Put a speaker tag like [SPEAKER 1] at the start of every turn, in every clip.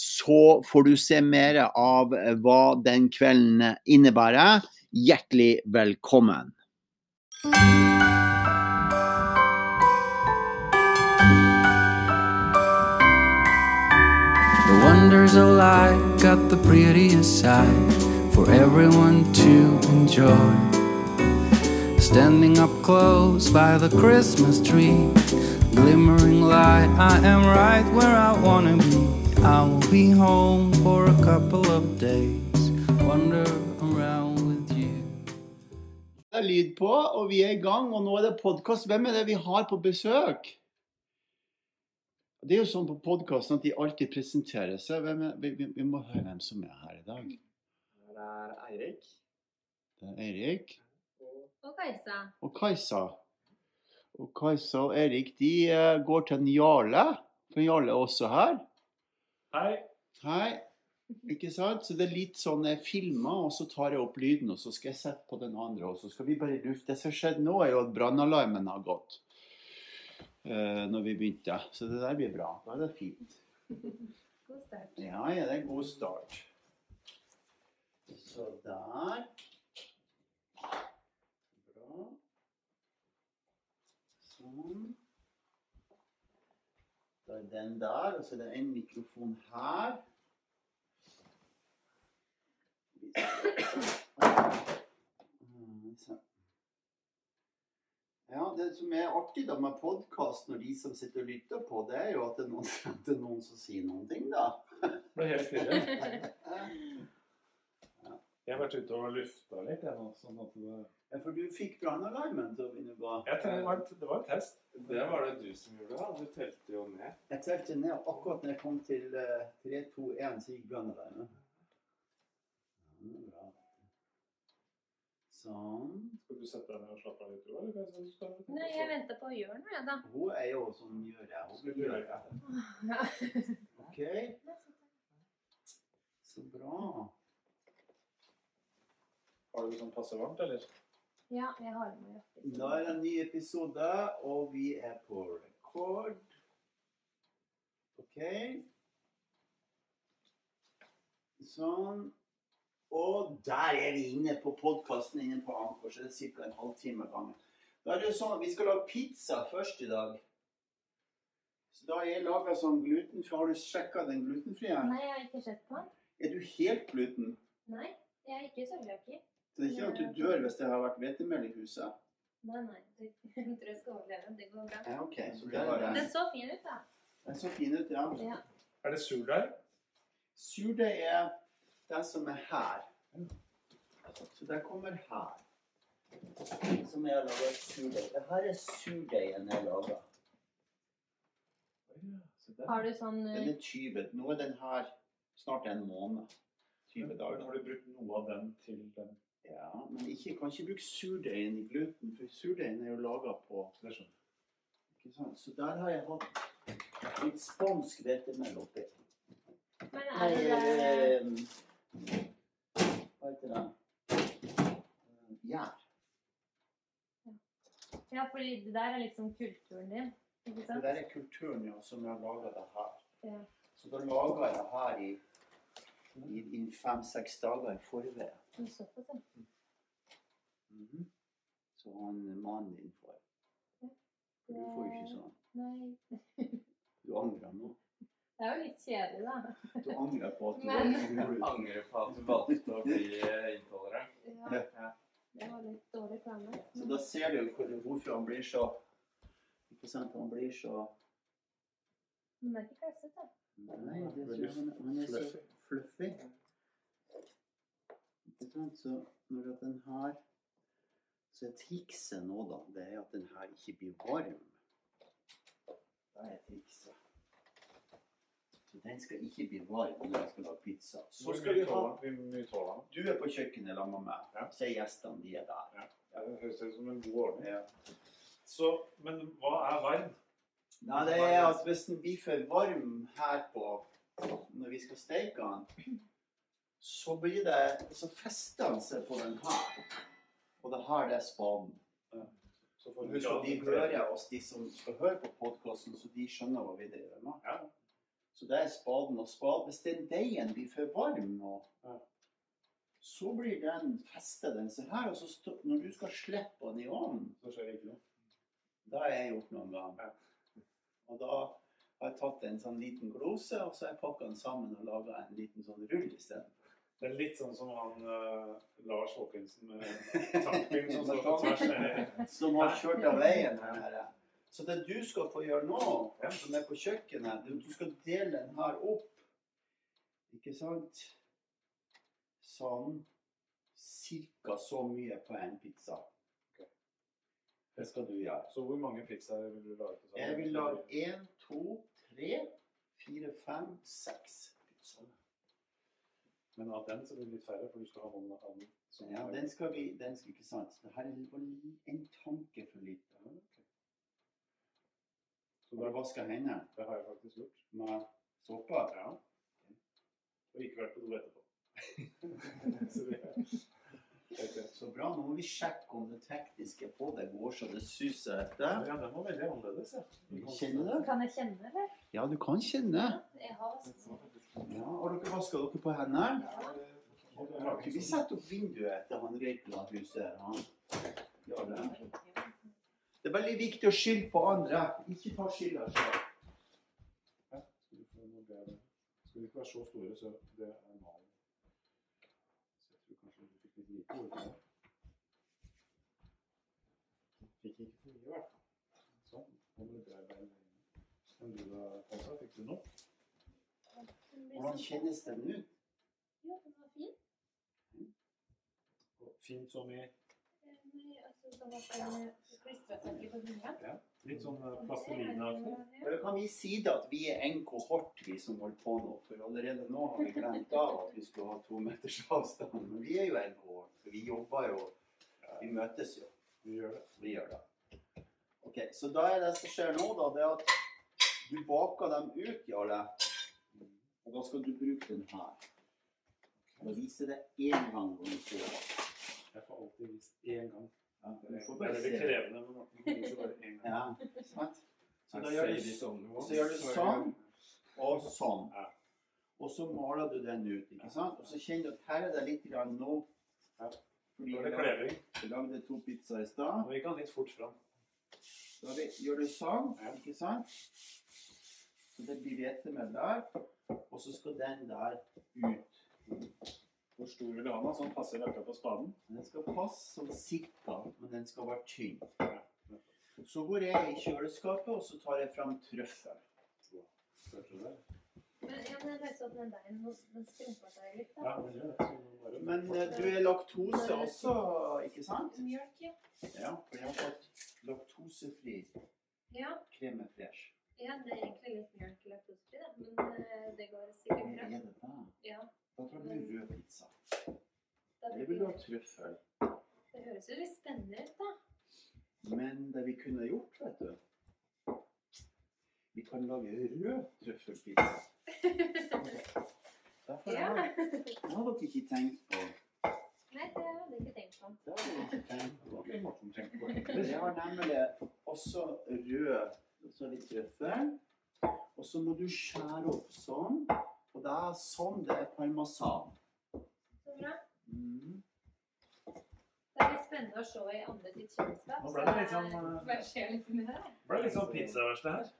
[SPEAKER 1] så får du se mer av eh, hva den kvelden eh, innebærer. Hjertelig velkommen.
[SPEAKER 2] The wonders of life got the prettiest side for everyone to enjoy. Standing up close by the Christmas tree, glimmering light, I am right where I wanna be. I will be home for a couple of days, wander around with you.
[SPEAKER 1] Det er lyd på, og vi er i gang. Og nå er det podkast. Hvem er det vi har på besøk? Det er jo sånn på podkasten at de alltid presenterer seg. Hvem er, vi, vi, vi må høre hvem som er her i dag.
[SPEAKER 3] Her er Eirik.
[SPEAKER 1] Det er Eirik
[SPEAKER 4] Og Kajsa.
[SPEAKER 1] og Kajsa. Og Kajsa og Eirik de eh, går til en Jarle. For Jarle er også her.
[SPEAKER 3] Hei.
[SPEAKER 1] Hei. Ikke sant? Så det er litt sånn jeg filmer, og så tar jeg opp lyden, og så skal jeg sette på den andre, og så skal vi bare lufte. Det som skjedde nå, er jo at brannalarmen har gått. eh, når vi begynte. Så det der blir bra. Da er det fint.
[SPEAKER 4] God start.
[SPEAKER 1] Ja, ja, det er en god start. Så der. Bra. Sånn. Da er den der, og så er det en mikrofon her. Mm, så. Ja, Det som er artig da med podkast, når de som sitter og lytter på, det er jo at det er noen, det er noen som sier noen ting, da.
[SPEAKER 3] Ble helt stille. Jeg har vært ute og lufta litt, jeg nå. Sånn at det,
[SPEAKER 1] Ja, for du fikk brannalarmen til å begynne på.
[SPEAKER 3] jeg tenkte, det, var en, det var en test. Det var det du som gjorde. da. Du telte jo ned.
[SPEAKER 1] Jeg telte ned og akkurat når jeg kom til eh, 3, 2, 1, så gikk brannalarmen. Ja, det er bra. Sånn.
[SPEAKER 3] Skal du sette deg ned og slappe av litt? Eller? hva er det du skal?
[SPEAKER 4] Nei, jeg venter på Jørn, jeg, da.
[SPEAKER 1] Hun er jo sånn gjør jeg. Hun vil gjøre det. OK, så bra.
[SPEAKER 3] Har du sånn passe varmt, eller?
[SPEAKER 4] Ja, jeg har med jakke.
[SPEAKER 1] Da er det en ny episode, og vi er på rekord. OK. Sånn. Og der er vi inne på podkasten inne på Anchor, så det er ca. en halvtime av gangen. Da er det jo sånn at vi skal lage pizza først i dag. Så da har jeg laga sånn glutenfri. Har du sjekka den glutenfrie?
[SPEAKER 4] Nei, jeg har ikke sett på han.
[SPEAKER 1] Er du helt gluten?
[SPEAKER 4] Nei, jeg er ikke sølvjakke.
[SPEAKER 1] Så det er ikke sånn at du dør hvis det har vært hvetemel i huset?
[SPEAKER 4] Nei, nei. Jeg tror jeg skal overleve. Det går bra.
[SPEAKER 1] Ja, OK. Så det var det.
[SPEAKER 4] Den så fin ut, da.
[SPEAKER 1] Den så fin ut, ja.
[SPEAKER 4] Ja.
[SPEAKER 3] Er det surdeig?
[SPEAKER 1] Surdeig er det som er her. Så det kommer her. Som jeg har laga surdeig. Det her er surdeigen jeg laga.
[SPEAKER 4] Har du sånn
[SPEAKER 1] Den
[SPEAKER 4] eh,
[SPEAKER 1] er tyvet. Nå er den her snart en måned. 20 dager.
[SPEAKER 3] Har du brukt noe av den til den?
[SPEAKER 1] Ja, men ikke, kan ikke bruke surdeigen i gluten, for surdeigen er jo laga på
[SPEAKER 3] Det skjønner jeg.
[SPEAKER 1] ikke sant? Så der har jeg hatt litt spansk hvetemel oppi.
[SPEAKER 4] Men er det der
[SPEAKER 1] Eh, Hva heter det? Eh, Gjær.
[SPEAKER 4] Ja, fordi det der er liksom kulturen din. Ikke
[SPEAKER 1] Det
[SPEAKER 4] sant?
[SPEAKER 1] der er kulturen ja, som har laga det her.
[SPEAKER 4] Ja.
[SPEAKER 1] Så da laga jeg det her i, i, i fem-seks dager i forveien.
[SPEAKER 4] Men såpass, ja. Mhm.
[SPEAKER 1] Så han mannen din får. For du får jo ikke sånn.
[SPEAKER 4] Nei.
[SPEAKER 1] Du angrer nå.
[SPEAKER 4] Det er jo litt kjedelig, da.
[SPEAKER 1] Du angrer på at du
[SPEAKER 4] Men-
[SPEAKER 1] var sur.
[SPEAKER 5] angrer på at du valgte å bli eh, intolerant.
[SPEAKER 4] Ja.
[SPEAKER 1] ser du jo hvor- hvorfor han blir så Ikke sant? Han blir så
[SPEAKER 4] Den er ikke klesset, da.
[SPEAKER 1] Nei, det tror jeg han, han er så fluffy. Ikke sant? Så når at den her Så er trikset nå, da, det er at den her ikke blir varm. Da er trikset. Så den skal ikke bli varm når jeg skal lage pizza. Så skal vi ha
[SPEAKER 5] Hvor mye tåler han?
[SPEAKER 1] Du er på kjøkkenet sammen med meg.
[SPEAKER 5] Ja.
[SPEAKER 1] Så er gjestene de er der.
[SPEAKER 5] Ja, Det høres ut som en god ordning. Så, men hva er varm?
[SPEAKER 1] Nei, det er at hvis den blir for varm her på når vi skal steke den, så blir det Så fester den seg på den her. Og det her det er spaden.
[SPEAKER 5] Så får
[SPEAKER 1] Og
[SPEAKER 5] du
[SPEAKER 1] Husk
[SPEAKER 5] ikke
[SPEAKER 1] at de
[SPEAKER 5] annet enn det.
[SPEAKER 1] hører oss, de som skal høre på podkasten, så de skjønner hva vi driver med.
[SPEAKER 5] Ja.
[SPEAKER 1] Så det er spaden og spaden. Hvis den deigen blir for varm nå,
[SPEAKER 5] Ja.
[SPEAKER 1] så blir den fester den seg her. Og så stå, når du skal slippe den i ovnen,
[SPEAKER 5] Så skjer det ikke noe.
[SPEAKER 1] Det har jeg gjort noen ganger. Og da har jeg tatt en sånn liten glose, og så har jeg pakka den sammen og laga en liten sånn rull isteden.
[SPEAKER 5] Det er litt sånn som han eh, Lars Håkonsen med tankbilen som står på tvers nedi.
[SPEAKER 1] Som har kjørt av veien her. nede. Så det du skal få gjøre nå, som er på kjøkkenet, du- du skal dele den her opp. Ikke sant? Sånn cirka så mye på en pizza. Det skal du gjøre.
[SPEAKER 5] Så hvor mange pizzaer vil du lage? til sammen?
[SPEAKER 1] Jeg vil lage én, to, tre, fire, fem, seks pizzaer.
[SPEAKER 5] Men av den så blir det litt færre, for du skal ha noen av den.
[SPEAKER 1] Så Ja, den skal vi den skal, Ikke sant. Så det her er bare en tanke for lite. Så bare vaske hendene
[SPEAKER 5] Det har jeg faktisk gjort.
[SPEAKER 1] med såpe.
[SPEAKER 5] Ja. Og ikke vært på do etterpå. så det er helt greit.
[SPEAKER 1] Så bra. Nå må vi sjekke om det tekniske på det går så det suser etter.
[SPEAKER 5] Ja, den var veldig annerledes, ja.
[SPEAKER 1] Kjenner du?
[SPEAKER 4] Kan jeg kjenne, eller?
[SPEAKER 1] Ja, du kan kjenne.
[SPEAKER 4] Jeg har vasket.
[SPEAKER 1] Ja, Har dere vaska dere på hendene? Har ikke vi
[SPEAKER 5] det?
[SPEAKER 1] satt opp vinduet til han Røykland-huset? Han gjør det. Det er veldig viktig å skylde på andre. Ikke ta skylda sjøl.
[SPEAKER 5] Skal vi få noe bedre? Skal vi ikke være så store, så det er malen. Så jeg tror kanskje du fikk litt lite ord på det. Fikk ikke for mye, i hvert fall. Sånn. Nå må du bearbeide det. Men du da, Kajsa, fikk du nok?
[SPEAKER 4] Den blir
[SPEAKER 1] Hvordan
[SPEAKER 4] sånn-
[SPEAKER 1] kjennes den ut?
[SPEAKER 4] Ja, den var fin.
[SPEAKER 5] Og Fint som i
[SPEAKER 4] Den, eh, altså, sånn at den klistret seg ikke på fingeren.
[SPEAKER 5] litt sånn eh, plastelina-aktig.
[SPEAKER 1] Men kan vi si det at vi er en kohort, vi som holder på nå? For allerede nå har vi glemt av at vi skulle ha to meters avstand. Men vi er jo en kohort, for vi jobber jo. Vi møtes jo.
[SPEAKER 5] Vi gjør det.
[SPEAKER 1] Vi gjør det. Ok, Så da er det som skjer nå, da, det er at du baker dem ut, Jarle. Og da skal du bruke den her. Og vise det én gang. hvor du får det.
[SPEAKER 5] Jeg får alltid vist én gang.
[SPEAKER 1] Ja,
[SPEAKER 5] Det
[SPEAKER 1] du
[SPEAKER 5] er
[SPEAKER 1] får
[SPEAKER 5] det
[SPEAKER 1] bare
[SPEAKER 5] er
[SPEAKER 1] se
[SPEAKER 5] litt
[SPEAKER 1] det.
[SPEAKER 5] krevende, men Morten kan vise bare én gang.
[SPEAKER 1] Ja, sant? Så da gjør du Så gjør du sånn og sånn.
[SPEAKER 5] Ja.
[SPEAKER 1] Og så maler du den ut. ikke sant? Og så kjenner du at her er det litt grann nå.
[SPEAKER 5] Ja.
[SPEAKER 1] Fordi
[SPEAKER 5] Nå er
[SPEAKER 1] vi
[SPEAKER 5] det kleving.
[SPEAKER 1] lagde- vi lagde to pizzaer i stad.
[SPEAKER 5] Nå gikk han litt fort fram.
[SPEAKER 1] Da vi- gjør du sånn,
[SPEAKER 5] Ja.
[SPEAKER 1] ikke sant? Så det blir hvetemel der. Og så skal den der ut.
[SPEAKER 5] Hvor stor vil du ha den? Sånn passer akkurat på spaden.
[SPEAKER 1] Den skal passe som sikta, men den skal være tynn. Så går jeg i kjøleskapet, og så tar jeg fram trøffel.
[SPEAKER 5] Hørte du det?
[SPEAKER 4] Men ja, men jeg leste at den deigen hos- den skrumpa seg litt. da.
[SPEAKER 5] Ja, men gjør det. Sånn bare.
[SPEAKER 1] Men eh, du er laktose også, ikke sant?
[SPEAKER 4] Mjølk, ja.
[SPEAKER 1] Ja, for jeg har fått laktosefri
[SPEAKER 4] Ja,
[SPEAKER 1] kreme fresh.
[SPEAKER 4] ja, det er egentlig litt mjølk laktosefri, da. Men eh, det går sikkert
[SPEAKER 1] Hva
[SPEAKER 4] bra.
[SPEAKER 1] er det da?
[SPEAKER 4] Ja,
[SPEAKER 1] Da tror jeg det blir rød pizza.
[SPEAKER 4] da
[SPEAKER 1] Jeg vil ha trøffel.
[SPEAKER 4] Det høres jo litt spennende ut, da.
[SPEAKER 1] Men det vi kunne gjort, vet du Vi kan lage rød trøffelpizza. Derfor
[SPEAKER 4] Ja.
[SPEAKER 1] har det har dere ikke tenkt på.
[SPEAKER 4] Nei, det hadde jeg ikke tenkt på.
[SPEAKER 1] Det har dere ikke tenkt på.
[SPEAKER 5] Ok, Morten, tenk på
[SPEAKER 1] Men
[SPEAKER 5] det.
[SPEAKER 1] Jeg har nemlig også rød. Og så litt trøffel. Og så må du skjære opp sånn. Og det er sånn det er parmesan.
[SPEAKER 4] Så bra.
[SPEAKER 1] Mm.
[SPEAKER 4] Det er litt spennende å se i andre sitt kjøleskap.
[SPEAKER 5] Nå ble det litt
[SPEAKER 4] så
[SPEAKER 5] sånn, eh,
[SPEAKER 4] Hva skjer litt med det?
[SPEAKER 5] Det ble litt sånn pizzaverksted her.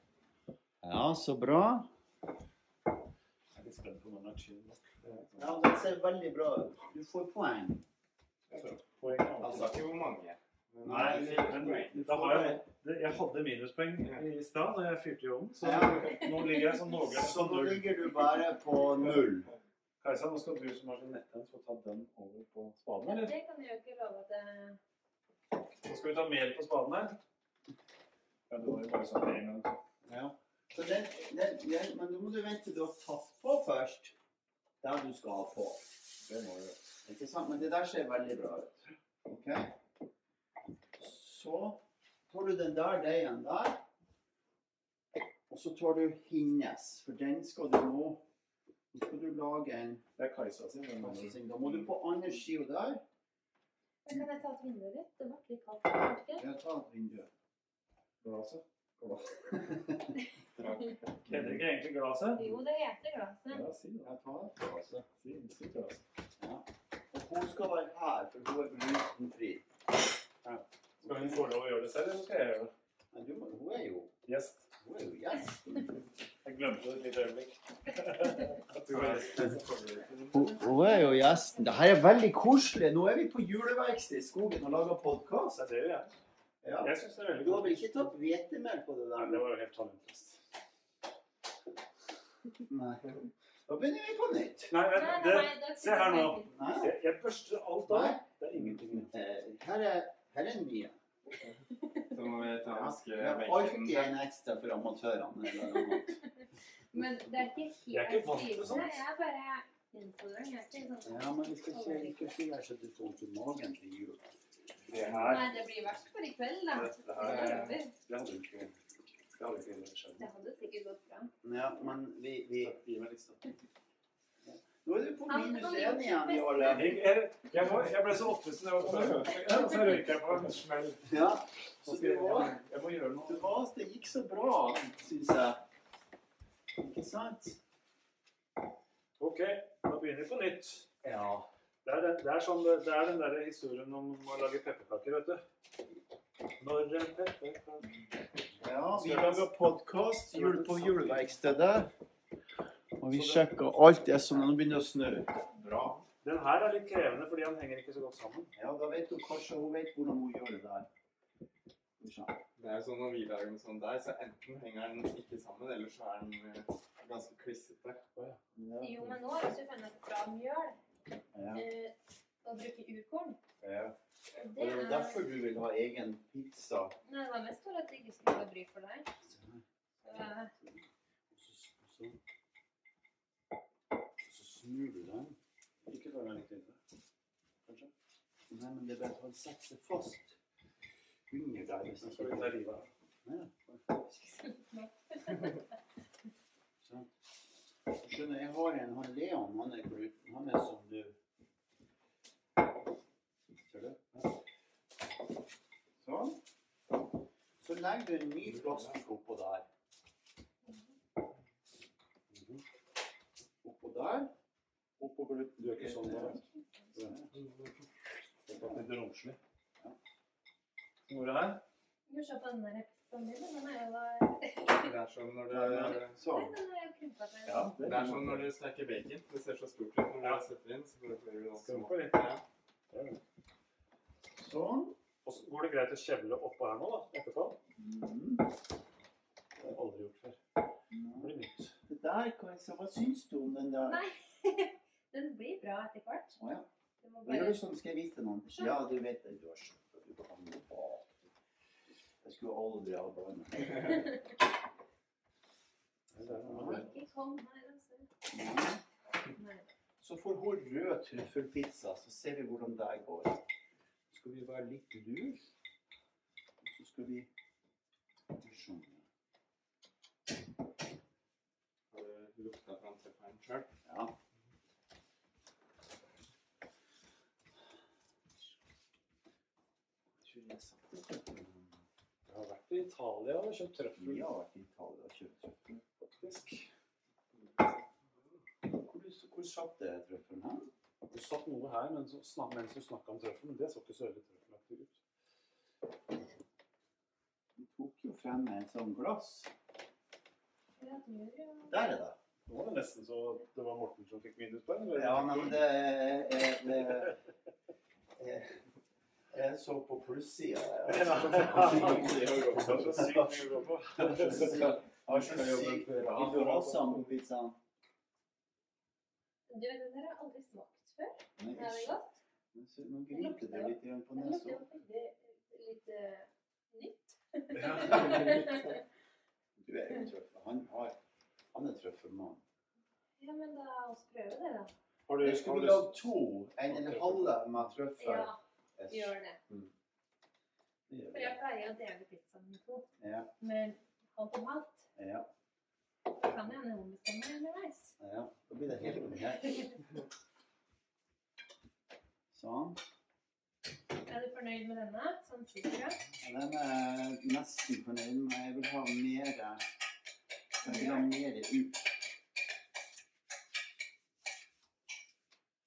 [SPEAKER 1] Ja, så bra.
[SPEAKER 5] Jeg er litt spent på om den er tynn nok. Det er
[SPEAKER 1] Ja,
[SPEAKER 5] sånn-
[SPEAKER 1] Det ser veldig bra ut. Du får poeng.
[SPEAKER 5] Det er bra. Poenget er
[SPEAKER 6] Han
[SPEAKER 5] alltid
[SPEAKER 6] sa ikke hvor mange. Men
[SPEAKER 5] Nei, men da har jeg, det- jeg hadde minuspoeng i stad da jeg fyrte i ovnen, så nå ligger jeg som noenlunde
[SPEAKER 1] Så
[SPEAKER 5] på
[SPEAKER 1] nå
[SPEAKER 5] null.
[SPEAKER 1] ligger du bare på null.
[SPEAKER 5] Kajsa, nå skal du som har sånn nettens få ta den over på spaden,
[SPEAKER 4] Ja,
[SPEAKER 5] eller?
[SPEAKER 4] det kan jeg jo ikke love at jeg
[SPEAKER 5] Nå skal vi ta mer på spaden her. Ja, det var jo bare sånn en gang.
[SPEAKER 1] Ja. Så den, den, den, men nå må du vente til du har tatt på først. Der du skal ha på. Det må du. Ikke sant? Men det der ser veldig bra ut. Ok? Så tar du den der deigen der. Og så tar du hinnes, for den skal du nå Nå skal du lage en
[SPEAKER 5] Det er Kajsa sin. den andre.
[SPEAKER 1] kasseseng. Da må du på andre sida der.
[SPEAKER 4] Men Kan jeg ta et vindu litt? Det ble litt kaldt. var det ikke?
[SPEAKER 1] Jeg tar et vindu.
[SPEAKER 5] Glaset. Heter ikke egentlig glaset?
[SPEAKER 4] Jo, det heter glasset.
[SPEAKER 5] Ja, si det.
[SPEAKER 1] Jeg tar et glass.
[SPEAKER 5] Si, si glaset.
[SPEAKER 1] Og hun skal være her, for hun er glutenfri.
[SPEAKER 5] Skal hun få lov å gjøre det selv, eller skal jeg gjøre det?
[SPEAKER 1] Men du, må- hun er jo
[SPEAKER 5] Gjest.
[SPEAKER 1] Hun er jo gjest.
[SPEAKER 5] Jeg glemte det et lite øyeblikk. At du var gjest.
[SPEAKER 1] Hun hun er jo gjesten. Det her er veldig koselig. Nå er vi på juleverksted i skogen og lager podkast.
[SPEAKER 5] Jeg ser jo, jeg.
[SPEAKER 1] Ja.
[SPEAKER 5] Jeg syns det er veldig
[SPEAKER 1] Du har
[SPEAKER 5] godt.
[SPEAKER 1] vel ikke tatt hvetemel på det
[SPEAKER 5] Nei,
[SPEAKER 1] der?
[SPEAKER 5] det
[SPEAKER 1] nå?
[SPEAKER 5] var jo helt talentløst.
[SPEAKER 1] Nei. Da begynner vi på nytt.
[SPEAKER 5] Nei,
[SPEAKER 4] Nei,
[SPEAKER 5] men
[SPEAKER 4] nei,
[SPEAKER 5] det,
[SPEAKER 4] nei, det er
[SPEAKER 5] se her nå.
[SPEAKER 1] Nei.
[SPEAKER 5] jeg, jeg børster alt av.
[SPEAKER 1] Nei.
[SPEAKER 5] Det er ingenting igjen.
[SPEAKER 1] Eh, Her er, her er en ny.
[SPEAKER 7] Så må vi ta og vaske
[SPEAKER 1] Det er
[SPEAKER 7] benken.
[SPEAKER 1] alltid en ekstra for amatørene. eller noe annet.
[SPEAKER 4] Men det er ikke
[SPEAKER 5] Jeg er
[SPEAKER 4] helt
[SPEAKER 5] ikke vant til
[SPEAKER 4] stivende.
[SPEAKER 5] sånt.
[SPEAKER 4] Jeg er bare innfordreren. Jeg er ikke sånn
[SPEAKER 1] Ja, men vi skal ikke, ikke si her så du får vondt i magen til jul.
[SPEAKER 5] Det her,
[SPEAKER 4] Nei, det blir verst for i kveld, da.
[SPEAKER 5] det, det her
[SPEAKER 4] Det er
[SPEAKER 5] er-
[SPEAKER 4] over.
[SPEAKER 5] Det hadde jo ikke Det hadde ikke skjedd.
[SPEAKER 4] Det hadde sikkert gått bra.
[SPEAKER 1] Ja, men vi, vi
[SPEAKER 5] Gi meg litt stopp.
[SPEAKER 1] Nå er du på
[SPEAKER 4] Ja, men
[SPEAKER 1] minus
[SPEAKER 4] kan vi-
[SPEAKER 1] én igjen, Jarle.
[SPEAKER 5] Jeg, jeg, jeg, var, jeg ble så opphisset da jeg var på røyken, og så røyker jeg på en smell.
[SPEAKER 1] Ja.
[SPEAKER 5] Så
[SPEAKER 1] Så
[SPEAKER 5] skal
[SPEAKER 1] du
[SPEAKER 5] jeg,
[SPEAKER 1] var
[SPEAKER 5] jeg, jeg må gjøre
[SPEAKER 1] Det
[SPEAKER 5] noe.
[SPEAKER 1] var, det gikk så bra, syns jeg. Ikke sant?
[SPEAKER 5] OK, da begynner vi på nytt.
[SPEAKER 1] Ja.
[SPEAKER 5] Det er, det, er sånn, det er den der historien om å lage pepperkaker, vet du. Når en pepperkake
[SPEAKER 1] vi lager podkast jul på juleverkstedet. Og vi sjekker alt det som nå begynner å snø.
[SPEAKER 5] Bra. Den her er litt krevende fordi han henger ikke så godt sammen.
[SPEAKER 1] Ja, da vet hun kanskje hun vet hvordan hun gjør det der. Skal vi se.
[SPEAKER 7] Det er jo sånn Når vi lager den sånn der, så enten henger den ikke sammen, eller så er den eh, ganske klissete.
[SPEAKER 4] Jo, men nå har jeg funnet ut bra mjøl.
[SPEAKER 1] Ja.
[SPEAKER 4] Eh, Å bruke urkorn.
[SPEAKER 1] Ja.
[SPEAKER 4] Og
[SPEAKER 1] Og
[SPEAKER 4] Det
[SPEAKER 1] det
[SPEAKER 4] er
[SPEAKER 1] var derfor du vil ha egen pizza.
[SPEAKER 4] Nei, det var mest for at jeg ikke skulle bry for deg. Så, eh,
[SPEAKER 1] Så, så snur du den. Ikke la den litt inne. Kanskje? Nei, men det er bare at han setter seg fast under der. Hvis
[SPEAKER 5] Så
[SPEAKER 1] han
[SPEAKER 5] skal vi ta livet av.
[SPEAKER 1] Sånn. Skjønner, jeg har en, han Leon, han er gluten, han er som du. Ser du? Ja. Sånn. Så legger du en ny plastikk oppå der. Mhm. Oppå der. Oppå gluten. Du er ikke sånn der.
[SPEAKER 5] Det var litt romslig. Hvor er det?
[SPEAKER 4] Du ser på den der pizzaen din, den er jo
[SPEAKER 7] Det er sånn når du,
[SPEAKER 1] Sånn.
[SPEAKER 4] Den er jo krympa seg.
[SPEAKER 5] Ja,
[SPEAKER 7] det er sånn når du steker bacon. Det ser så stort ut når du setter inn, så bare blir det noe
[SPEAKER 5] Skal vi
[SPEAKER 7] smått.
[SPEAKER 5] få litt?
[SPEAKER 7] Ja.
[SPEAKER 1] Sånn.
[SPEAKER 5] Og så går det greit å kjevle oppå her nå, da, etterpå?
[SPEAKER 1] Mhm.
[SPEAKER 5] Det har jeg aldri gjort før. Det blir nytt.
[SPEAKER 1] Det der, Kajsa, hva syns du om den der?
[SPEAKER 4] Nei. Den blir bra etter hvert.
[SPEAKER 1] Å, ja.
[SPEAKER 4] Du må
[SPEAKER 1] Hva gjør
[SPEAKER 4] bare
[SPEAKER 1] du som skal jeg vise deg noen? Ja, du vet det. Du har skjønt at du kan noe bak. Jeg skulle aldri ha barn.
[SPEAKER 5] Det er noe med det.
[SPEAKER 4] Ikke kom her, altså. Nei.
[SPEAKER 1] Så får hun rød truffelpizza, så ser vi hvordan det går. Så skal vi være litt lur. Og så skal vi Sånn.
[SPEAKER 7] Har du lukta fram pepperen sjøl?
[SPEAKER 1] Ja.
[SPEAKER 5] Jeg har vært i Italia og kjøpt trøffel.
[SPEAKER 1] Vi har vært i Italia og kjøpt trøffel, faktisk. Hvor, hvor satt det trøffelen her?
[SPEAKER 5] Du satt noe her mens du snak- mens du snakka om trøffel, men det så ikke så veldig trøffelaktig ut.
[SPEAKER 1] Vi tok jo frem et sånt glass.
[SPEAKER 4] Ja, du gjør jo
[SPEAKER 1] Der er det.
[SPEAKER 5] Nå var det nesten så det var Morten som fikk minuspoeng.
[SPEAKER 1] Ja, nei, men det, eh, det eh, eh, jeg så på plussida.
[SPEAKER 5] Det var så sykt mye å gå på.
[SPEAKER 1] var så sykt bra for oss.
[SPEAKER 4] Du, den der har jeg aldri smakt før.
[SPEAKER 1] Nei,
[SPEAKER 4] Er det
[SPEAKER 1] ikke
[SPEAKER 4] godt?
[SPEAKER 1] sant. Nå grinte det litt grann på
[SPEAKER 4] Den lukter
[SPEAKER 1] nesa.
[SPEAKER 4] jo veldig litt eh, nytt.
[SPEAKER 1] Ja. Du er jo trøffel. Han, har, han er trøffelmann.
[SPEAKER 4] ja, men da la oss prøve det, da.
[SPEAKER 5] Har du,
[SPEAKER 1] Jeg skulle
[SPEAKER 5] har du,
[SPEAKER 1] lagd to. En, en halve med trøffel.
[SPEAKER 4] Ja, gjør det. For jeg pleier å dele pizzaen med to.
[SPEAKER 1] Ja,
[SPEAKER 4] Men halvt om halvt
[SPEAKER 1] ja,
[SPEAKER 4] kan jeg hende hun bestemmer underveis.
[SPEAKER 1] ja. Da blir det helt med her. Sånn.
[SPEAKER 4] Er du fornøyd med denne? Sånn cirka?
[SPEAKER 1] Ja, den er jeg nesten fornøyd med. Jeg vil ha mer Jeg vil ha mer ut.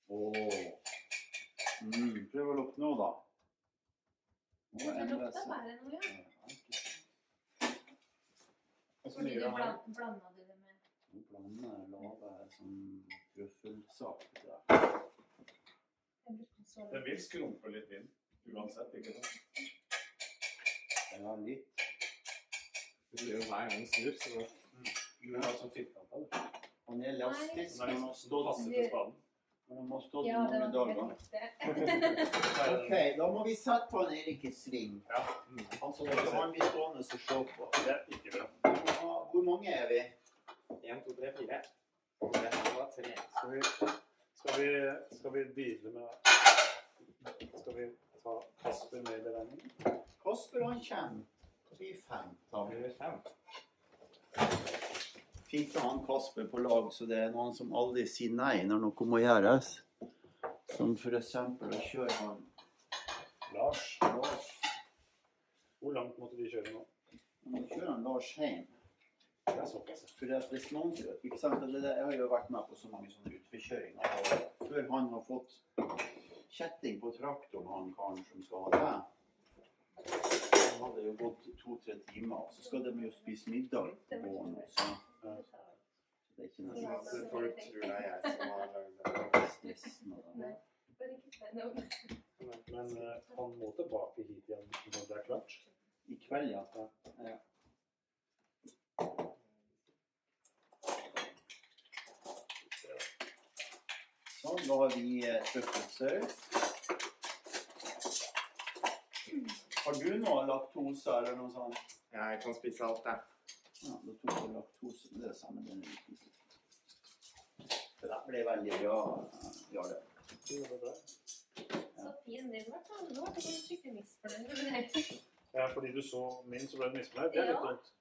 [SPEAKER 1] Åh. Mm, prøv å lukte nå, da. Nå
[SPEAKER 4] Det
[SPEAKER 1] endrer
[SPEAKER 4] lukta
[SPEAKER 1] seg.
[SPEAKER 4] bare noe, ja.
[SPEAKER 1] Ja, ikke sant. Og så
[SPEAKER 4] Fordi
[SPEAKER 1] ligger
[SPEAKER 4] du
[SPEAKER 1] det her.
[SPEAKER 4] blanda du det med
[SPEAKER 1] Nå blander jeg lave som sånn trøffelsak. Ja.
[SPEAKER 4] Jeg brukte så
[SPEAKER 5] den
[SPEAKER 4] litt.
[SPEAKER 5] vil skrumpe litt inn uansett, ikke sant?
[SPEAKER 1] Jeg har litt.
[SPEAKER 6] Det blir jo hver gang snur, så
[SPEAKER 5] Du har sånn firkanta, du.
[SPEAKER 1] Han er elastisk.
[SPEAKER 5] Den er
[SPEAKER 1] men
[SPEAKER 5] liksom
[SPEAKER 1] Han
[SPEAKER 5] stått
[SPEAKER 1] stått-
[SPEAKER 5] passe til spaden.
[SPEAKER 1] men han har stått
[SPEAKER 4] Ja, det
[SPEAKER 1] mange
[SPEAKER 4] var
[SPEAKER 1] dager.
[SPEAKER 4] helt riktig.
[SPEAKER 5] Nei,
[SPEAKER 1] Ok,
[SPEAKER 5] den-
[SPEAKER 1] da må vi sette på en Erik i sving.
[SPEAKER 5] Ja.
[SPEAKER 1] Han som han blir stående og se på.
[SPEAKER 5] Det er ikke bra.
[SPEAKER 1] Hvor- Hvor mange er vi?
[SPEAKER 6] 1, 2, 3, 4. Det her var tre.
[SPEAKER 5] Skal vi, skal vi, skal vi deale med Skal vi ta Kasper med i beregningen?
[SPEAKER 1] Kasper han kommer. Vi er fem.
[SPEAKER 6] Da blir det fem.
[SPEAKER 1] Fint å ha han Kasper på lag, så det er noen som aldri sier nei når noe må gjøres. Som for eksempel å kjøre han
[SPEAKER 5] Lars,
[SPEAKER 1] Lars.
[SPEAKER 5] hvor langt måtte de kjøre nå?
[SPEAKER 1] Nå kjører han Lars hjem.
[SPEAKER 5] Det er såpass.
[SPEAKER 1] For at hvis noen, ikke sant, det, det, Jeg har jo vært med på så mange sånne utforkjøringer. og Før han har fått kjetting på traktoren, han karen som skal ha det Han hadde jo gått to-tre timer, og så skal de jo spise middag på gården også. Det er ikke noe
[SPEAKER 4] Ja.
[SPEAKER 1] sånn
[SPEAKER 6] Så folk tror det er jeg som har lagd det.
[SPEAKER 1] business med det.
[SPEAKER 4] Nei, bare ikke si noe.
[SPEAKER 5] Men eh, han må tilbake hit igjen når det er klart.
[SPEAKER 1] I kveld, ja. ja. Sånn, da har vi eh, trøffelsaus. Har du noe laktose eller noe sånt?
[SPEAKER 6] Jeg kan spise alt, jeg.
[SPEAKER 1] Ja, da tok jeg laktose. men Det er samme, den er ikke så. Det der ble veldig bra, Jarle.
[SPEAKER 4] Så fin din var. da. Nå ble jeg skikkelig misfornøyd med det.
[SPEAKER 5] Ja, fordi du så min, så ble du misfornøyd. Det er litt
[SPEAKER 4] Ja.
[SPEAKER 5] dumt.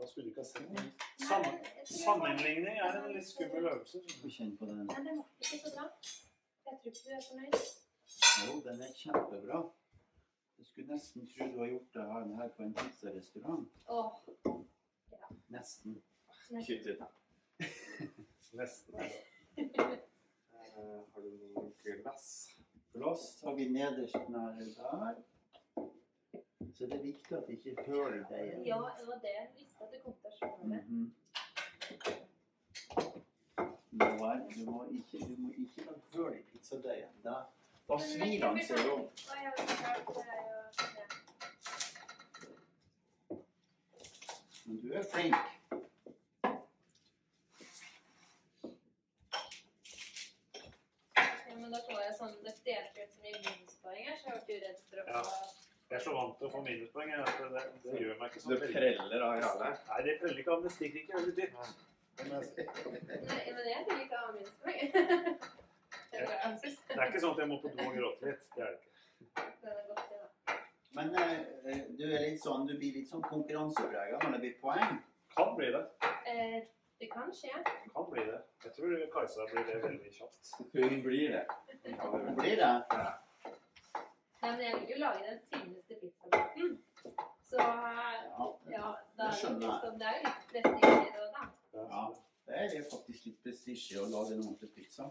[SPEAKER 5] Da skulle du ikke ha sett den.
[SPEAKER 4] Nei,
[SPEAKER 5] Sammen,
[SPEAKER 4] jeg tror-
[SPEAKER 5] sammenligning er en litt skummel øvelse.
[SPEAKER 1] Få kjenne på den.
[SPEAKER 4] Nei, den var ikke så bra. Jeg tror ikke du er fornøyd.
[SPEAKER 1] Jo, den er kjempebra. Jeg skulle nesten tro du har gjort det her, her på en pizzarestaurant.
[SPEAKER 4] Åh,
[SPEAKER 1] Nesten.
[SPEAKER 4] nei.
[SPEAKER 6] Kutt ut, da.
[SPEAKER 5] Nesten.
[SPEAKER 6] Eh, Har du noen glass?
[SPEAKER 1] Glass har vi nederst nære der. Så det er viktig at det ikke høler deg igjen.
[SPEAKER 4] Ja, det var det jeg visste at det kom til å skje med.
[SPEAKER 1] Mhm. Nå er- Du må ikke, du må ikke la høl i pizzadeigen. Da, da svir han seg om.
[SPEAKER 4] Hva jeg har klart, det er jo det.
[SPEAKER 1] Men du er flink.
[SPEAKER 4] Ja, men da får jeg sånn, det delte ut så mye minuspoeng her, så jeg ble jo redd for å
[SPEAKER 5] Ja.
[SPEAKER 4] få...
[SPEAKER 5] Jeg er så vant til å få minuspoeng. jeg, at Det, det gjør meg ikke
[SPEAKER 6] Så
[SPEAKER 5] så
[SPEAKER 6] det
[SPEAKER 5] veldig-
[SPEAKER 6] preller av Jarle?
[SPEAKER 5] Nei, det preller ikke av. Det stikker ikke veldig dypt. Men jeg-
[SPEAKER 4] Nei, men jeg vil ikke ha minuspoeng. Det er bra, jeg synes.
[SPEAKER 5] Det er ikke sånn at jeg må på do og gråte litt. Det er det ikke.
[SPEAKER 4] Den er godt, det da.
[SPEAKER 1] Men eh, eh, du, er litt sånn, du blir litt sånn konkurranseprega når det blir poeng.
[SPEAKER 5] Kan bli det.
[SPEAKER 4] Eh, det kan skje.
[SPEAKER 5] Kan bli det. Jeg tror Kajsa blir det veldig kjapt.
[SPEAKER 6] Hun blir det. Ja, det blir det.
[SPEAKER 1] Blir det?
[SPEAKER 4] Nei, men jeg vil jo lage den fineste pizzabakken. Så,
[SPEAKER 1] Ja.
[SPEAKER 4] ja,
[SPEAKER 1] Det
[SPEAKER 4] da er det
[SPEAKER 1] skjønner jeg.
[SPEAKER 4] liksom, det er jo litt prestige i det også, da.
[SPEAKER 1] Ja. Det er faktisk litt prestisje å lage en ordentlig pizza.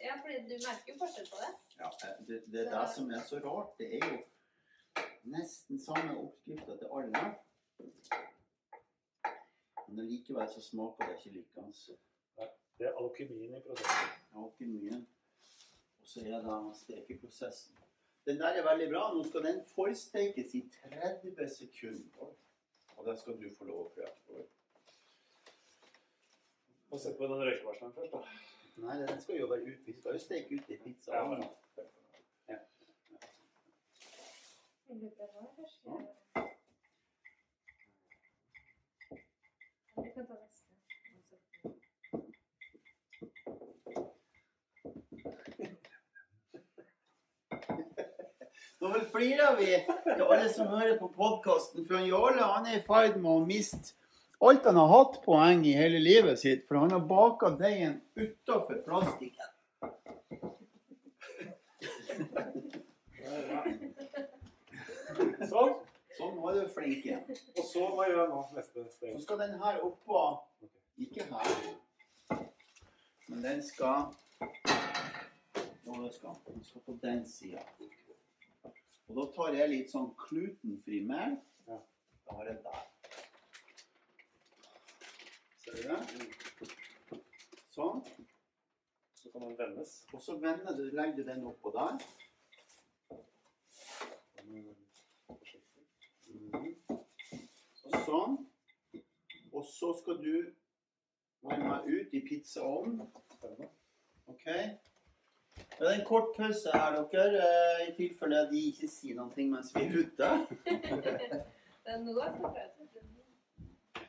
[SPEAKER 4] Ja, fordi du merker jo forskjell på det.
[SPEAKER 1] Ja, Eh, det, det er det som er så rart. Det er jo nesten samme oppskrifta til alle. Men likevel så smaker det ikke altså. likens.
[SPEAKER 5] Det er alkymien i prosessen.
[SPEAKER 1] Jeg har ikke mye. Og så er det stekeprosessen. Den der er veldig bra. Nå skal den forstekes i 30 sekunder. Og det skal du få lov å prøve.
[SPEAKER 5] Få se på den røykevarsleren først, da.
[SPEAKER 1] Nei, den skal jo være ute. Vi skal jo steke ut i pizza.
[SPEAKER 5] Ja, ja.
[SPEAKER 4] Jeg kan ta neste.
[SPEAKER 1] Nå vel flirer vi til alle som hører på podkasten, for han Jarle han er i ferd med å miste alt han har hatt poeng i hele livet sitt, for han har baka deigen utafor plastikken.
[SPEAKER 5] Sånn.
[SPEAKER 1] Sånn var du flink igjen.
[SPEAKER 5] Og så hva gjør jeg nå? Neste
[SPEAKER 1] Så
[SPEAKER 5] steg.
[SPEAKER 1] skal den her oppå Ikke her, men den skal Jo, den skal, den skal på den sida. Og da tar jeg litt sånn glutenfri mel.
[SPEAKER 5] Ja.
[SPEAKER 1] Da har jeg der. Ser du det? Sånn.
[SPEAKER 5] Så kan den vendes.
[SPEAKER 1] Og så vender du, legger du den oppå der. Mhm. Sånn. Og så skal du varme ut i pizzaovnen. OK? Det er en kort pause her, dere, eh, i tilfelle de ikke sier noe mens vi er ute.
[SPEAKER 4] Det er nå jeg skal prøve det.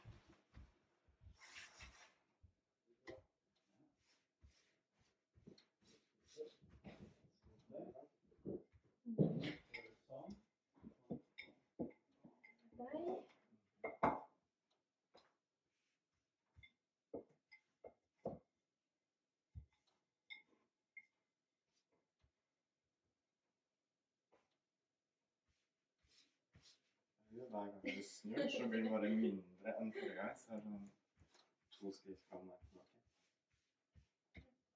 [SPEAKER 4] Nei.
[SPEAKER 6] Hver gang du snur, så blir den bare mindre enn forrige gang. Så er det sånn to skritt fram der tilbake.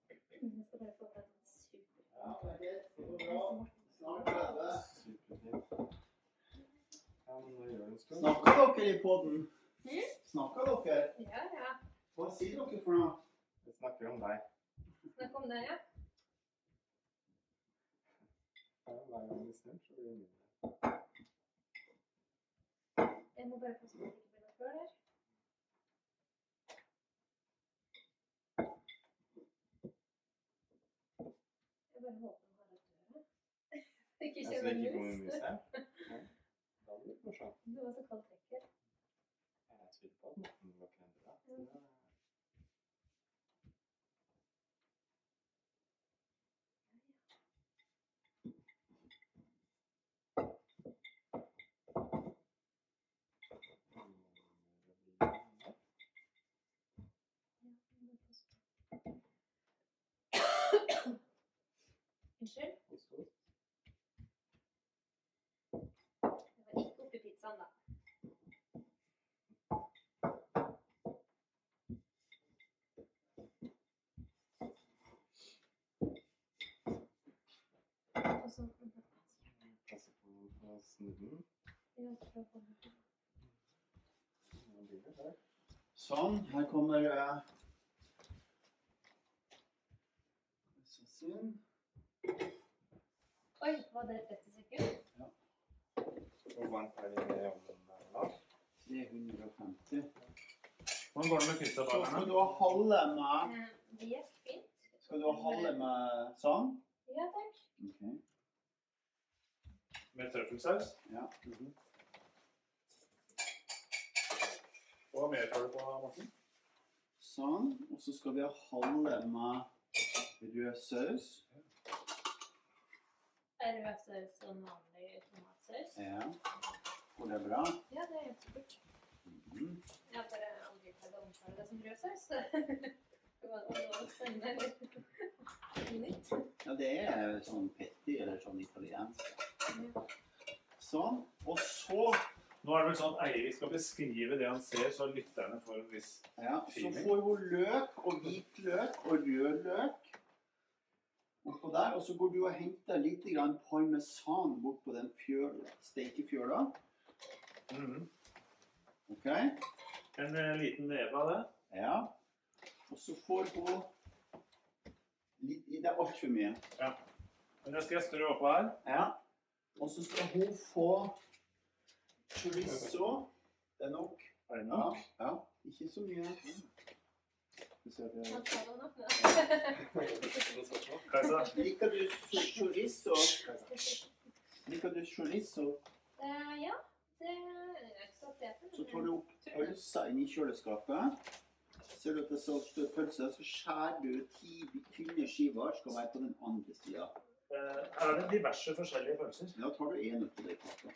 [SPEAKER 4] Jeg skal bare få den super.
[SPEAKER 1] Ja, det er greit. Det går bra. Snart er det.
[SPEAKER 6] Superfint. Ja, men nå gjør det en stund.
[SPEAKER 1] Snakker dere i podden?
[SPEAKER 4] Mhm.
[SPEAKER 1] Snakker dere?
[SPEAKER 4] Ja, ja.
[SPEAKER 1] Hva sier dere for noe?
[SPEAKER 6] Vi snakker om deg.
[SPEAKER 4] Snakk om det, ja.
[SPEAKER 6] Ja, hver gang du snur, så blir det mindre.
[SPEAKER 4] Jeg må bare passe på at det ikke blir noe før der. Jeg bare håper han har rett døra. Ikke
[SPEAKER 6] Altså,
[SPEAKER 4] kjenner
[SPEAKER 6] ikke kommer
[SPEAKER 4] mus.
[SPEAKER 6] mus her. Nei. Da blir det morsomt.
[SPEAKER 4] Det var så kaldt trekker.
[SPEAKER 6] Jeg tviler på at maten lukker en døra.
[SPEAKER 4] Unnskyld? Det var ikke oppi pizzaen, da. Og så
[SPEAKER 6] Passe på å snu den.
[SPEAKER 4] Ja, så får jeg på-
[SPEAKER 6] Nå blir det der.
[SPEAKER 1] Sånn, her kommer eh, så sin.
[SPEAKER 4] Oi, var det 30 sekunder?
[SPEAKER 6] Hvor varmt er det i ovnen der da?
[SPEAKER 1] 350.
[SPEAKER 5] Hvordan går det med
[SPEAKER 1] Så skal du ha halve med
[SPEAKER 4] Eh, Det gikk fint.
[SPEAKER 1] Skal du ha halve med sånn?
[SPEAKER 4] Ja, takk.
[SPEAKER 1] Ok.
[SPEAKER 5] Med trøffelsaus?
[SPEAKER 1] Ja.
[SPEAKER 5] Og hva mer tar du på, Morten?
[SPEAKER 1] Sånn. Og så skal vi ha halve med rød saus.
[SPEAKER 4] Er det saus og vanlig tomatsaus?
[SPEAKER 1] Ja. Går det bra?
[SPEAKER 4] Ja, det er helt supert.
[SPEAKER 1] Mhm.
[SPEAKER 4] Jeg har bare aldri prøvd å omtale det som rød saus. Det var det var spennende. eller Nytt.
[SPEAKER 1] Ja, det er sånn petti eller sånn italiensk. Sånn. Og så
[SPEAKER 5] Nå er det vel sånn at Eirik skal beskrive det han ser, så lytterne får en viss
[SPEAKER 1] Ja, så
[SPEAKER 5] Fint.
[SPEAKER 1] får hun løk og hvitløk og rødløk oppå der. Og så går du og henter litt grann parmesan bort på den fjøl- stekefjøla. OK?
[SPEAKER 5] Mhm. En eh, liten neve av det.
[SPEAKER 1] Ja. Og så får hun litt i Det er altfor mye.
[SPEAKER 5] Men det skal jeg strø oppå her.
[SPEAKER 1] Ja. Og så skal hun få chorizo. Det er nok.
[SPEAKER 5] Er det
[SPEAKER 1] Ja,
[SPEAKER 5] nok?
[SPEAKER 1] ja. Ikke så mye. Du ser at jeg-
[SPEAKER 5] Kajsa,
[SPEAKER 1] Liker du chorizo? Liker du chorizo,
[SPEAKER 4] Eh, ja, det er ikke så fete,
[SPEAKER 1] så
[SPEAKER 4] men-
[SPEAKER 1] tar du opp pølsa inn i kjøleskapet. Ser du at det står står pølse, så skjærer du ti tynne skiver. Skal være på den andre sida.
[SPEAKER 5] eh, her er det diverse forskjellige pølser.
[SPEAKER 1] Da tar du én oppi det kaka.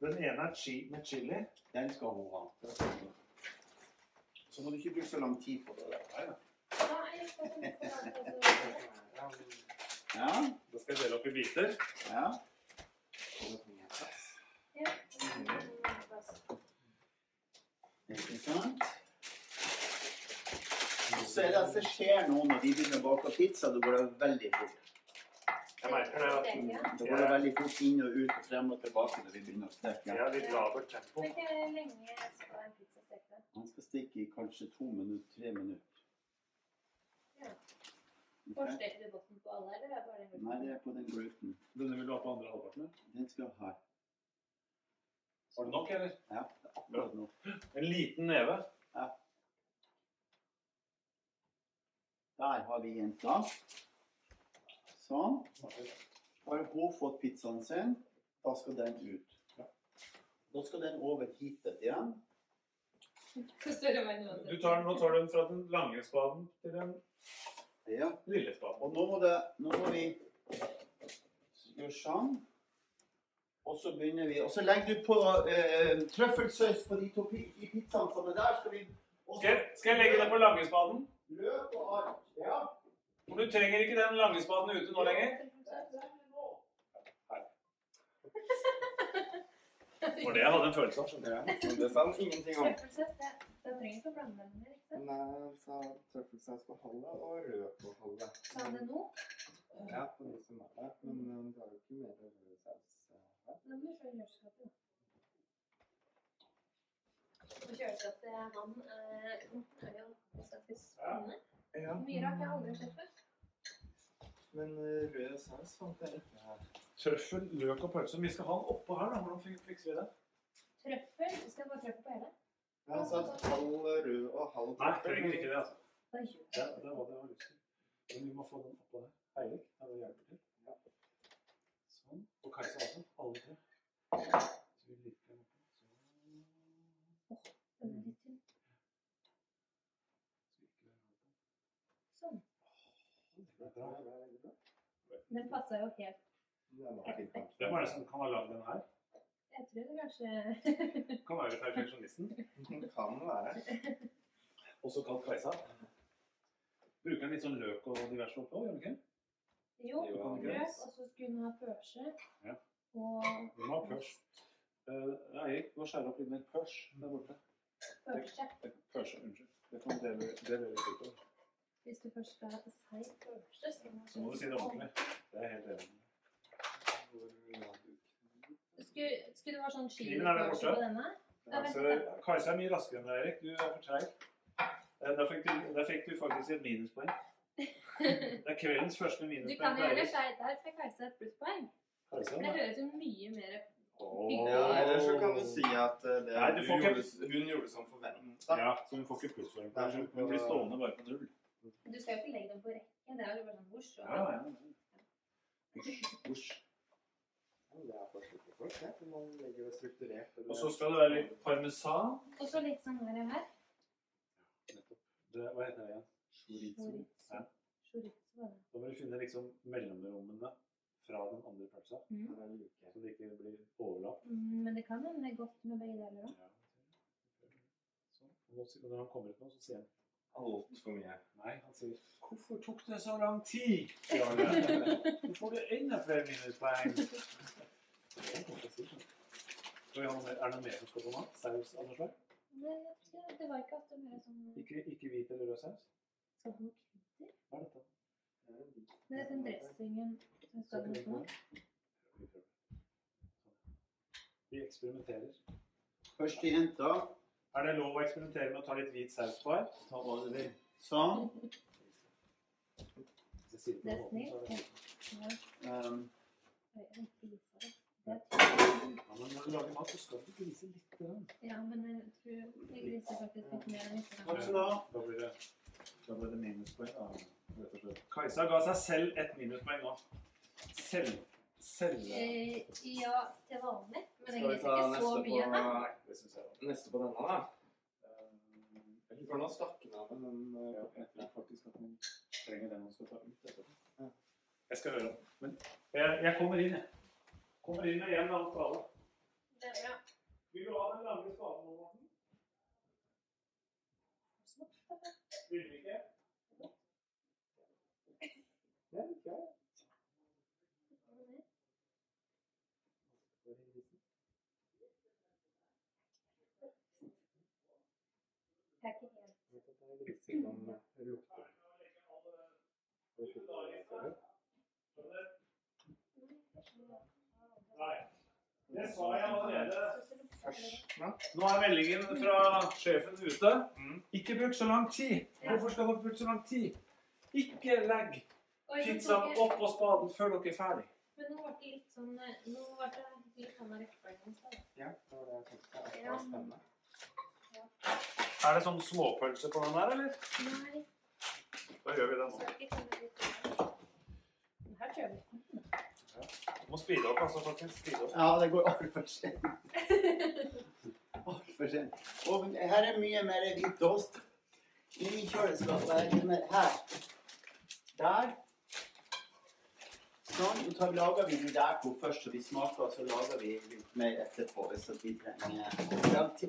[SPEAKER 5] Den ene er chi med chili.
[SPEAKER 1] Den skal hun ha. Så må du ikke bruke så lang tid på det. der.
[SPEAKER 4] Nei, jeg skal ikke ha det.
[SPEAKER 1] Ja,
[SPEAKER 5] Da skal jeg dele opp i biter.
[SPEAKER 1] ja.
[SPEAKER 4] Ja. Mm,
[SPEAKER 1] Ikke sant? Så er det at det skjer noe når de begynner å bake pizza. Da går det veldig fort.
[SPEAKER 5] Jeg merker det. at
[SPEAKER 4] steker, ja.
[SPEAKER 1] Da går det veldig fort inn og ut og frem og tilbake når vi begynner å
[SPEAKER 5] Jeg
[SPEAKER 1] steke.
[SPEAKER 5] har litt labert tempo.
[SPEAKER 4] Men ikke lenge skal en pizza steke.
[SPEAKER 1] Han skal stikke i kanskje to minutter, tre minutter.
[SPEAKER 4] Ja.
[SPEAKER 1] Ok?
[SPEAKER 4] Forsteker du botten på alle, eller er det bare den?
[SPEAKER 1] Nei, det er på den gluten.
[SPEAKER 5] Denne vil du ha på andre halvparten? ja?
[SPEAKER 1] Den skal jeg ha.
[SPEAKER 5] Har du nok, eller?
[SPEAKER 1] Ja, det er akkurat nå.
[SPEAKER 5] En liten neve.
[SPEAKER 1] Der har vi jenta. Sånn. Har hun fått pizzaen sin, da skal den ut. Da skal den over hitet igjen.
[SPEAKER 4] Større vann uansett.
[SPEAKER 5] Du tar, den- nå tar du den fra den lange spaden til den
[SPEAKER 1] Ja.
[SPEAKER 5] lille spaden.
[SPEAKER 1] Og nå må, det, nå må vi gjøre sånn. Og så begynner vi. Og så legger du på eh, trøffelsaus på de to pi- i pizzaene som er der. Skal vi også-
[SPEAKER 5] Skal jeg, skal jeg legge den på lange spaden?
[SPEAKER 1] Løk og alt. Ja.
[SPEAKER 5] For Du trenger ikke den lange spaden ute nå lenger. For det jeg hadde en følelse av.
[SPEAKER 6] Ja, men det sa han ingenting om.
[SPEAKER 4] Trøffelsøs, det. Da trenger du ikke å blande den med riktig.
[SPEAKER 6] Nei, han sa trøffelsaus på halve og rød på halve.
[SPEAKER 4] Sa han det nå?
[SPEAKER 6] Ja, på de som er der. Men eh, det var jo ikke mer rød saus eh, her.
[SPEAKER 4] Nå må du kjøre kjøleskapet. Og kjøleskapet, han eh, er jo faktisk spennende.
[SPEAKER 6] Ja,
[SPEAKER 4] Mye rart jeg har aldri sett før.
[SPEAKER 6] men eh, rød saus fant jeg ikke her.
[SPEAKER 5] Trøffel, løk og pølse. Vi skal ha den oppå her. da. Hvordan fik- fikser vi det?
[SPEAKER 4] Trøffel? Skal jeg bare trøffel på hele?
[SPEAKER 6] Ja, han sa halv rød og halv
[SPEAKER 5] Nei, trenger ikke det. altså.
[SPEAKER 4] Da gjør
[SPEAKER 5] Ja, det var det jeg hadde lyst til. Men vi må få den oppå der. Eirik, er det hjelper til? Ja. Sånn. Og Kajsa også. Alle tre. Så vi liker den oppå. Sånn.
[SPEAKER 4] den litt til. Sånn. Den passet jo helt.
[SPEAKER 5] Hvem er det som kan ha lagd den her?
[SPEAKER 4] Jeg tror det kanskje...
[SPEAKER 5] Kan være perfeksjonisten.
[SPEAKER 6] Det kan være.
[SPEAKER 5] Også kalt Kajsa. Bruker den litt sånn løk og diverse oppå, gjør den ikke?
[SPEAKER 4] Jo,
[SPEAKER 6] Jo,
[SPEAKER 4] løk,
[SPEAKER 5] grøt.
[SPEAKER 4] og så skulle hun ha pørse.
[SPEAKER 5] Ja.
[SPEAKER 4] Og
[SPEAKER 5] Vi må ha pørs. Eh, Eirik, du må skjære opp litt mer pørs der borte.
[SPEAKER 4] pørse,
[SPEAKER 5] Pørs, unnskyld. Det kan dele, dele litt utover.
[SPEAKER 4] hvis du først skal ha på seg pørse, så må,
[SPEAKER 5] Så må du si det ordentlig. Det er jeg helt enig. med.
[SPEAKER 4] Skulle, skulle det være sånn
[SPEAKER 5] Kniven er der
[SPEAKER 4] skivepørse
[SPEAKER 5] borte.
[SPEAKER 4] på denne? Ja, vent,
[SPEAKER 5] Altså, Kajsa er mye raskere enn deg, Erik. Du er for treig. Eh, Der fikk, du, der fikk du faktisk et minuspoeng. Det er kveldens første
[SPEAKER 4] Du
[SPEAKER 5] minuspoeng.
[SPEAKER 4] kan jo
[SPEAKER 5] for
[SPEAKER 4] gjøre
[SPEAKER 5] Eirik.
[SPEAKER 4] seg der fikk Kajsa et plusspoeng.
[SPEAKER 5] Kajsa,
[SPEAKER 4] For Det
[SPEAKER 5] da.
[SPEAKER 4] høres jo mye mer
[SPEAKER 5] Åh.
[SPEAKER 6] Ja, eller så kan du si at eh, det,
[SPEAKER 5] Nei, du får
[SPEAKER 6] hun,
[SPEAKER 5] ikke-
[SPEAKER 6] gjorde, hun gjorde som forventa.
[SPEAKER 5] Ja, så hun får ikke plusspoeng. på det. Hun blir stående bare på null.
[SPEAKER 4] Du skal jo ikke legge dem på rekke. Det er jo bare sånn vors. og-
[SPEAKER 5] Ja, ja, ja.
[SPEAKER 6] Ja, Det er forskjell på folk, det. Man legger det strukturert. eller-
[SPEAKER 5] Og så skal det være litt parmesan.
[SPEAKER 4] Og så litt sånn her. her.
[SPEAKER 5] Det, hva heter det igjen?
[SPEAKER 6] Chorizo.
[SPEAKER 5] Ja.
[SPEAKER 4] Chorizo, var det.
[SPEAKER 5] Da må du finne liksom mellomrommene fra den andre pølsa,
[SPEAKER 4] Mm.
[SPEAKER 6] Her er like.
[SPEAKER 5] så det ikke blir overlapp.
[SPEAKER 4] Mm, Men det kan hende godt med begge deler òg.
[SPEAKER 5] Sånn. Og nå sier- Når han kommer ut nå, så sier han
[SPEAKER 6] Altfor mye.
[SPEAKER 5] Nei, han sier 'Hvorfor tok det så lang tid?' sier han. Nå får du enda flere minuspoeng. Skal vi ha noe mer? Er det noe mer som skal på nå? Saus av noe slag?
[SPEAKER 4] Det var ikke at det var sånn
[SPEAKER 5] Ikke, ikke hvit eller rød saus?
[SPEAKER 4] Skal du ha noe krydder?
[SPEAKER 5] Hva er dette?
[SPEAKER 4] Det er den dressingen som skal på nå.
[SPEAKER 5] Vi eksperimenterer.
[SPEAKER 1] Først til jenta.
[SPEAKER 5] Er det lov å eksperimentere med å ta litt hvit saus på her?
[SPEAKER 1] Ta hva du vil. Sånn.
[SPEAKER 5] Hvis jeg sier det på den måten, så er det-
[SPEAKER 4] Ja,
[SPEAKER 1] Um,
[SPEAKER 5] Når du lager mat, så skal du grise litt. grann.
[SPEAKER 4] Ja, men jeg tror jeg griser faktisk litt mer enn neste gang.
[SPEAKER 5] Takk skal du ha.
[SPEAKER 8] Da blir det
[SPEAKER 6] Da ble det minuspoeng, da. Rett og slett.
[SPEAKER 5] Kajsa ga seg selv et minuspoeng nå. Selv. Selv.
[SPEAKER 4] Eh, ja, til vanlig. Men jeg
[SPEAKER 6] Skal vi
[SPEAKER 4] griser
[SPEAKER 6] ta
[SPEAKER 4] ikke så
[SPEAKER 6] neste
[SPEAKER 4] mye. Hæ?
[SPEAKER 6] på,
[SPEAKER 5] Nei, det synes jeg var.
[SPEAKER 6] neste på denne, da? Eh, Jeg tror nå stakk den av, men eh,
[SPEAKER 5] Ja, jeg tror faktisk at man trenger den man skal ta ut etterpå. Jeg skal høre om. Men jeg, jeg kommer inn, jeg. Kommer inn med en eller annen skade.
[SPEAKER 4] Det er bra.
[SPEAKER 5] Vil du ha den lange skaden nå, Morten? Vil du ikke? Ja, ikke jeg.
[SPEAKER 4] Det er ikke helt
[SPEAKER 6] litt siden om lukter.
[SPEAKER 5] Nei. Det sa jeg allerede.
[SPEAKER 6] Først, da.
[SPEAKER 5] Nå er meldingen fra sjefen ute.
[SPEAKER 6] Mm.
[SPEAKER 5] Ikke bruk så lang tid.
[SPEAKER 4] Ja.
[SPEAKER 5] Hvorfor skal dere bruke så lang tid? Ikke legg
[SPEAKER 4] Oi, nå
[SPEAKER 5] pizzaen
[SPEAKER 4] tok jeg-
[SPEAKER 5] opp på spaden før dere er ferdig.
[SPEAKER 4] Men nå ble det litt sånn eh, Nå ble det litt sånn rekkefølgen i stedet.
[SPEAKER 6] Ja, det var det jeg tenkte. Det
[SPEAKER 4] Ja.
[SPEAKER 6] var spennende.
[SPEAKER 5] Er det sånn småpølse på den her, eller?
[SPEAKER 4] Nei,
[SPEAKER 5] Da gjør vi det
[SPEAKER 4] så
[SPEAKER 5] nå.
[SPEAKER 4] er det ikke sånn det blir. Men Her kjører vi.
[SPEAKER 5] Vi må speede opp, altså, folkens. Speede opp.
[SPEAKER 1] Ja, det går altfor sent. Altfor sent. Og her er mye mer hvit ost. I kjøleskapet er litt mer her. Der. Sånn. Så tar- lager vi de der to først, så vi smaker, og så lager vi litt mer etterpå. Hvis at vi trenger Ja,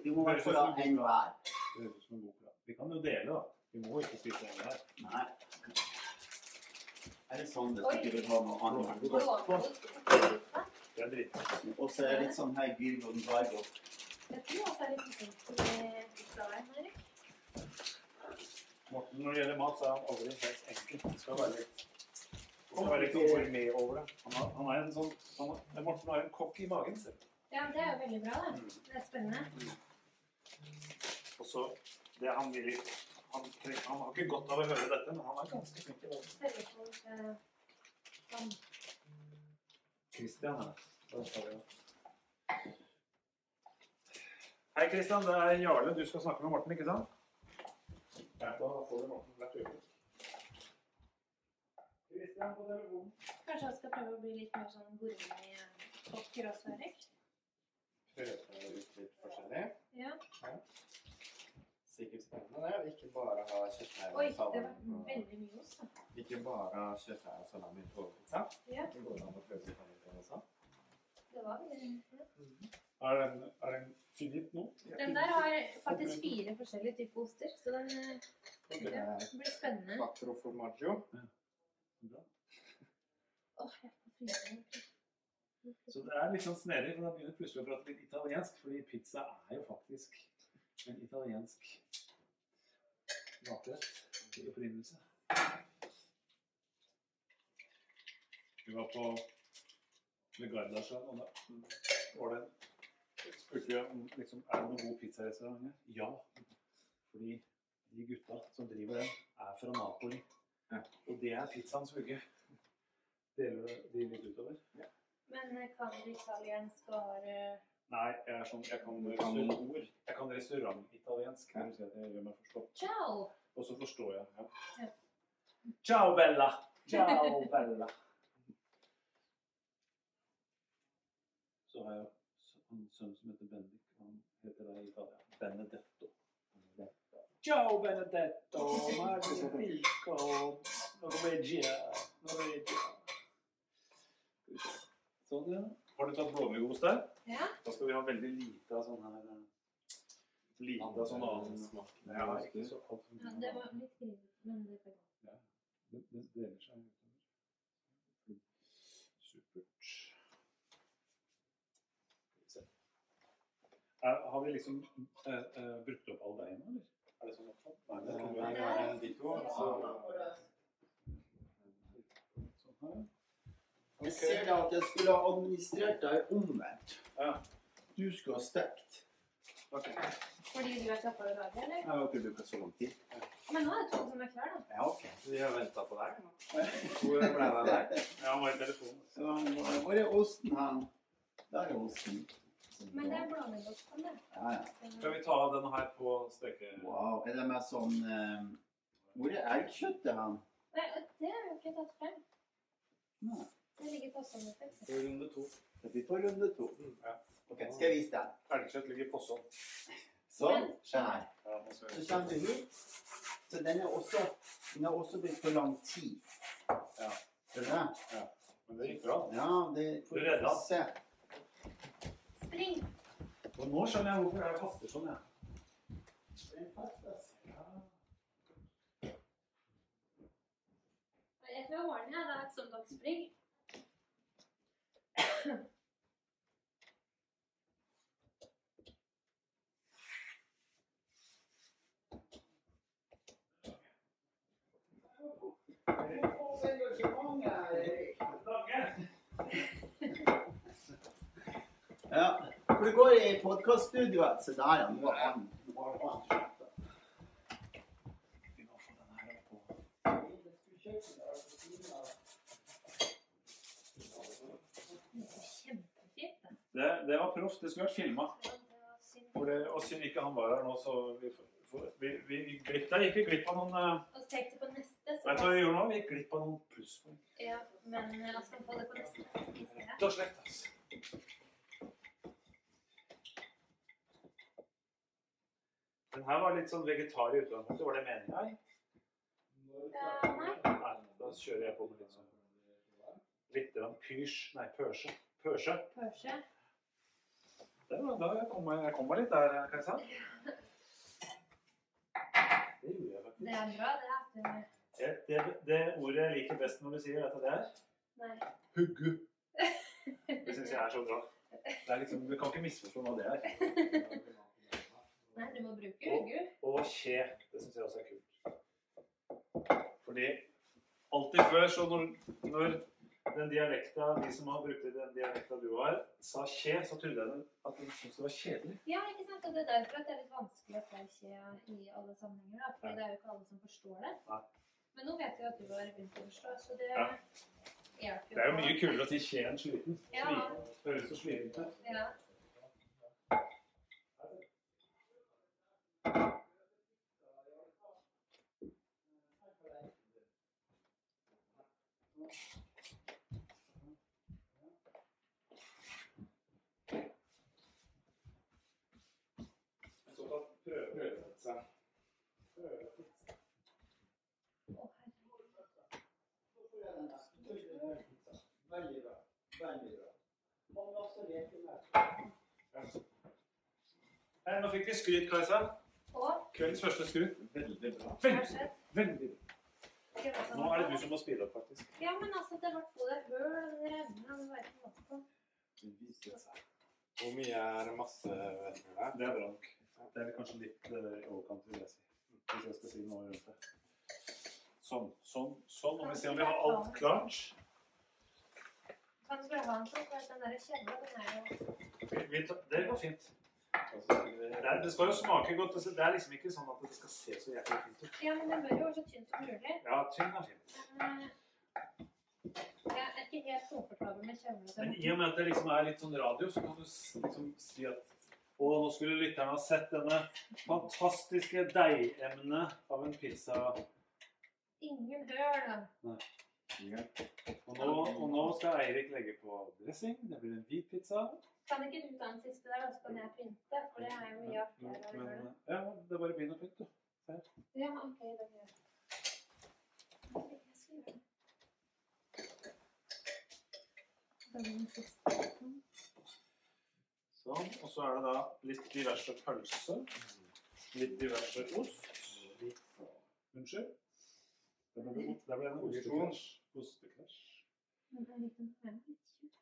[SPEAKER 1] Vi må i hvert fall ha en hver.
[SPEAKER 5] Det høres ut som en god plan. Vi kan jo dele, da. Vi må ikke spise den her.
[SPEAKER 1] Nei. Er det sånn det
[SPEAKER 4] Oi.
[SPEAKER 1] skal vi ha noe annet?
[SPEAKER 4] Blåkost.
[SPEAKER 5] Det er dritt.
[SPEAKER 1] Og så er det litt sånn her gul og gargo.
[SPEAKER 4] Jeg tror at det er litt sånn eh, pizzaen her. jeg.
[SPEAKER 5] Morten, når det gjelder mat, så er han aldri helt enkel. Det skal være litt det skal være litt sånn gourmet over det. Han, har, han er en sånn, han har, Morten har en kokk i magen selv.
[SPEAKER 4] Ja, det er jo veldig bra, da. Det er spennende.
[SPEAKER 5] Og så, det han vil ikke han, treng- han har ikke godt av å høre dette, men han er ganske flink i det.
[SPEAKER 4] Sørge for eh, sånn.
[SPEAKER 5] Kristian her. Da tar vi den. Hei, Kristian. Det er Jarle. Du skal snakke med Morten, ikke sant? Ja, da får du Morten hvert øyeblikk. Kristian på telefonen.
[SPEAKER 4] Kanskje jeg skal prøve å bli litt mer sånn gourmet-kokker også, Erik?
[SPEAKER 6] Prøve ut litt forskjellig.
[SPEAKER 4] Ja.
[SPEAKER 6] Sikkert spennende, det. og Ikke bare ha kjøttdeig
[SPEAKER 4] Oi,
[SPEAKER 6] og
[SPEAKER 4] det var
[SPEAKER 6] salami. på-
[SPEAKER 4] veldig mye ost. da.
[SPEAKER 6] Ikke bare ha kjøttdeig og salami på pizza.
[SPEAKER 4] Ja,
[SPEAKER 6] Det går an å prøve litt annet enn også.
[SPEAKER 4] det var veldig mye.
[SPEAKER 5] Er den, er den finnet nå?
[SPEAKER 4] Den der har faktisk fire forskjellige typer oster, så den eh,
[SPEAKER 6] Det er
[SPEAKER 4] blir spennende.
[SPEAKER 6] quattro formaggio.
[SPEAKER 4] Åh, jeg får fryse den.
[SPEAKER 5] Så det er litt sånn snedig, for da begynner plutselig å prate litt italiensk. Fordi pizza er jo faktisk en italiensk matrett i opprinnelse. Vi var på ved Gardasjøen, og da var det spurte vi om liksom, er det noen god pizzarestaurant her. Ja. Fordi de gutta som driver den, er fra Napoli.
[SPEAKER 6] Ja.
[SPEAKER 5] Og det er pizzaens vugge. Deler du de litt utover?
[SPEAKER 4] Men eh, kan du italiensk og har eh,
[SPEAKER 5] Nei, jeg er sånn, jeg kan
[SPEAKER 6] Kan noen
[SPEAKER 5] restaurant- Jeg kan restaurantitaliensk. Det vil si at jeg gjør meg forstått.
[SPEAKER 4] Ciao!
[SPEAKER 5] Og så forstår jeg.
[SPEAKER 4] Ja.
[SPEAKER 5] Ja. Ciao, Bella! Ciao, Bella! Så har jeg s- en sønn som heter Bendik. og Han heter det i Italia. Benedetto. Ciao, Benedetto! Magnifico! Norvegia! Norvegia! Skal vi se. Sånn, ja. Har du tatt blåmuggost der?
[SPEAKER 4] Ja,
[SPEAKER 5] Da skal vi ha veldig lite av sånn her eh, Lite av sånn annen smak. Ja, ikke så altfor
[SPEAKER 4] ja,
[SPEAKER 5] mye.
[SPEAKER 4] det var litt fint, men det var godt.
[SPEAKER 5] Det, det deler seg utover. Supert. Skal vi se. Er, har vi liksom eh, eh, brukt opp all deigen, eller? Er det sånn oppfatt? Nei, det kan være.
[SPEAKER 6] Eh, De to, og så
[SPEAKER 5] Sånn her.
[SPEAKER 1] Jeg ser da at jeg skulle ha administrert deg omvendt.
[SPEAKER 5] Ja.
[SPEAKER 1] Du skulle ha stekt.
[SPEAKER 4] Fordi du er kjappere å lage, eller?
[SPEAKER 1] Jeg har ikke brukt så lang tid.
[SPEAKER 4] Men nå er det to som er klar, da.
[SPEAKER 1] Ja, ok.
[SPEAKER 6] Vi har venta på deg. nå. Hvor ble det av deg?
[SPEAKER 5] Ja, han var i telefonen.
[SPEAKER 1] Så, hvor er osten her? Der er osten.
[SPEAKER 4] Men det er blandegodt. sånn, det.
[SPEAKER 7] Ja, ja.
[SPEAKER 5] Skal vi ta den her på steke...
[SPEAKER 7] Wow. Er det mer sånn eh, Hvor er elgkjøttet hen?
[SPEAKER 4] Nei, det har jeg ikke tatt frem.
[SPEAKER 7] Nei.
[SPEAKER 4] Det ligger passende til.
[SPEAKER 5] På runde to.
[SPEAKER 7] Det blir på runde to.
[SPEAKER 6] Mm.
[SPEAKER 5] Ja.
[SPEAKER 7] Ok, Skal jeg vise deg.
[SPEAKER 5] Elgkjøtt ligger i posen.
[SPEAKER 7] Sånn. Se her.
[SPEAKER 5] Ja, nå skal
[SPEAKER 7] Så
[SPEAKER 5] jeg...
[SPEAKER 7] kommer du hit. Så den er også, den er også blitt for lang tid.
[SPEAKER 5] Ja.
[SPEAKER 7] Ser du det?
[SPEAKER 5] Men det gikk bra.
[SPEAKER 7] Ja, det
[SPEAKER 5] Du redder den.
[SPEAKER 7] se.
[SPEAKER 4] Spring!
[SPEAKER 5] Og nå skjønner jeg hvorfor jeg kaster sånn, jeg.
[SPEAKER 4] Jeg tror jeg har den her. Det er et søndagsspring.
[SPEAKER 7] Ja. For det går i podkaststudioet. Se der, ja. Nå er han. Nå er han. skjønt, da.
[SPEAKER 5] Vi må få den her opp på.
[SPEAKER 4] Kjempefint. da.
[SPEAKER 5] Det, det var proft. Det skulle vært filma.
[SPEAKER 4] Ja, det var synd.
[SPEAKER 5] For det- Og siden ikke han var her nå, så vi, får- vi, vi gikk glipp der. Gikk vi glipp av noen eh,
[SPEAKER 4] Og så tenkte jeg på neste. Så
[SPEAKER 5] Vet du hva vi gjorde nå? Vi gikk glipp av noen plusspoeng.
[SPEAKER 4] Ja, men eh, jeg skal få det på neste. i stedet.
[SPEAKER 5] Rett og slett, altså. Den her var litt sånn vegetar i utgangspunktet. Var det meninga?
[SPEAKER 4] Eh, nei.
[SPEAKER 5] Nei, da kjører jeg på med litt sånn Litt grann pysj Nei, pørse. Pørse.
[SPEAKER 4] Pørse.
[SPEAKER 5] Det var, da kom jeg, jeg kom meg litt der, Kajsa. Det gjorde jeg
[SPEAKER 4] Det er bra, det. at du-
[SPEAKER 5] Det, det, det ordet jeg liker best når du sier dette, det er
[SPEAKER 4] Nei.
[SPEAKER 5] huggu. Det syns jeg er så bra. Det er liksom, du kan ikke misforstå hva det er.
[SPEAKER 4] Nei, du må bruke huggu.
[SPEAKER 5] Og kje. Det syns jeg også er kult. Fordi alltid før, så når, når den dialekta, de som har brukt den dialekta du har, sa kje, så trodde jeg den- at de syntes det var kjedelig.
[SPEAKER 4] Ja, ikke sant? Og det er derfor at det er litt vanskelig å se kje i alle sammenhenger. da, For
[SPEAKER 5] Ja.
[SPEAKER 4] det er jo ikke alle som forstår det.
[SPEAKER 5] Nei.
[SPEAKER 4] Men nå vet vi at du har begynt å forstå, så det
[SPEAKER 5] Ja.
[SPEAKER 4] hjelper jo.
[SPEAKER 5] Det er jo
[SPEAKER 4] på.
[SPEAKER 5] mye kulere å si kje enn sliten.
[SPEAKER 4] Ja.
[SPEAKER 5] Sliten. Høres så sliten ut.
[SPEAKER 4] Ja.
[SPEAKER 7] Veldig bra. Veldig bra. Og masse leker med.
[SPEAKER 5] Nei, Nå fikk vi skryt, Kajsa.
[SPEAKER 4] Og
[SPEAKER 5] Kveldens første skryt.
[SPEAKER 7] Veldig bra.
[SPEAKER 4] hva skjedde?
[SPEAKER 5] Veldig bra.
[SPEAKER 4] Ikke hva som
[SPEAKER 5] Nå
[SPEAKER 4] var
[SPEAKER 5] er det
[SPEAKER 4] bra.
[SPEAKER 5] du som må speede opp, faktisk.
[SPEAKER 4] Ja, men altså, det ble både høl og revne og det var ikke måte på.
[SPEAKER 6] Det viste seg. Hvor mye er masse venner der?
[SPEAKER 5] Det er bra nok. Det er kanskje litt eh, i overkant, vil jeg si. Hvis jeg skal si noe rundt det. Sånn, sånn, sånn. Nå må vi se om vi har alt klart.
[SPEAKER 4] Kan du bare ha en sånn, for at den der kjella, den er jo
[SPEAKER 5] Vi, vi, tar- det går fint. Det, er, det skal jo smake godt. altså. Det er liksom ikke sånn at det skal se så jævlig fint ut.
[SPEAKER 4] Ja, men den bør jo være så tynn som mulig.
[SPEAKER 5] Ja, tynn er fint.
[SPEAKER 4] Men, eh, Jeg er ikke helt komfortabel med kjevla til
[SPEAKER 5] Men i og med at det liksom er litt sånn radio, så kan du s- liksom si at Å, nå skulle lytterne ha sett denne fantastiske deigemnet av en pizza.
[SPEAKER 4] Ingen høl, da.
[SPEAKER 5] Og nå, og nå skal Eirik legge på dressing. Det blir en hvit pizza.
[SPEAKER 4] Kan ikke du ta den siste der, og så kan jeg printe? For det er jo mye
[SPEAKER 5] Men,
[SPEAKER 4] artigere å
[SPEAKER 5] men,
[SPEAKER 4] gjøre det.
[SPEAKER 5] ja, det er bare begynn å pynte.
[SPEAKER 4] Ja, ok, da gjør jeg det. Jeg skal gjøre det. Da blir den siste.
[SPEAKER 5] Sånn. Og så er det da litt diverse pølse. Litt diverse ost. Unnskyld. Det ble, det ble en ostekrasj. Ostekrasj.
[SPEAKER 4] Men jeg liker den her litt tjukk.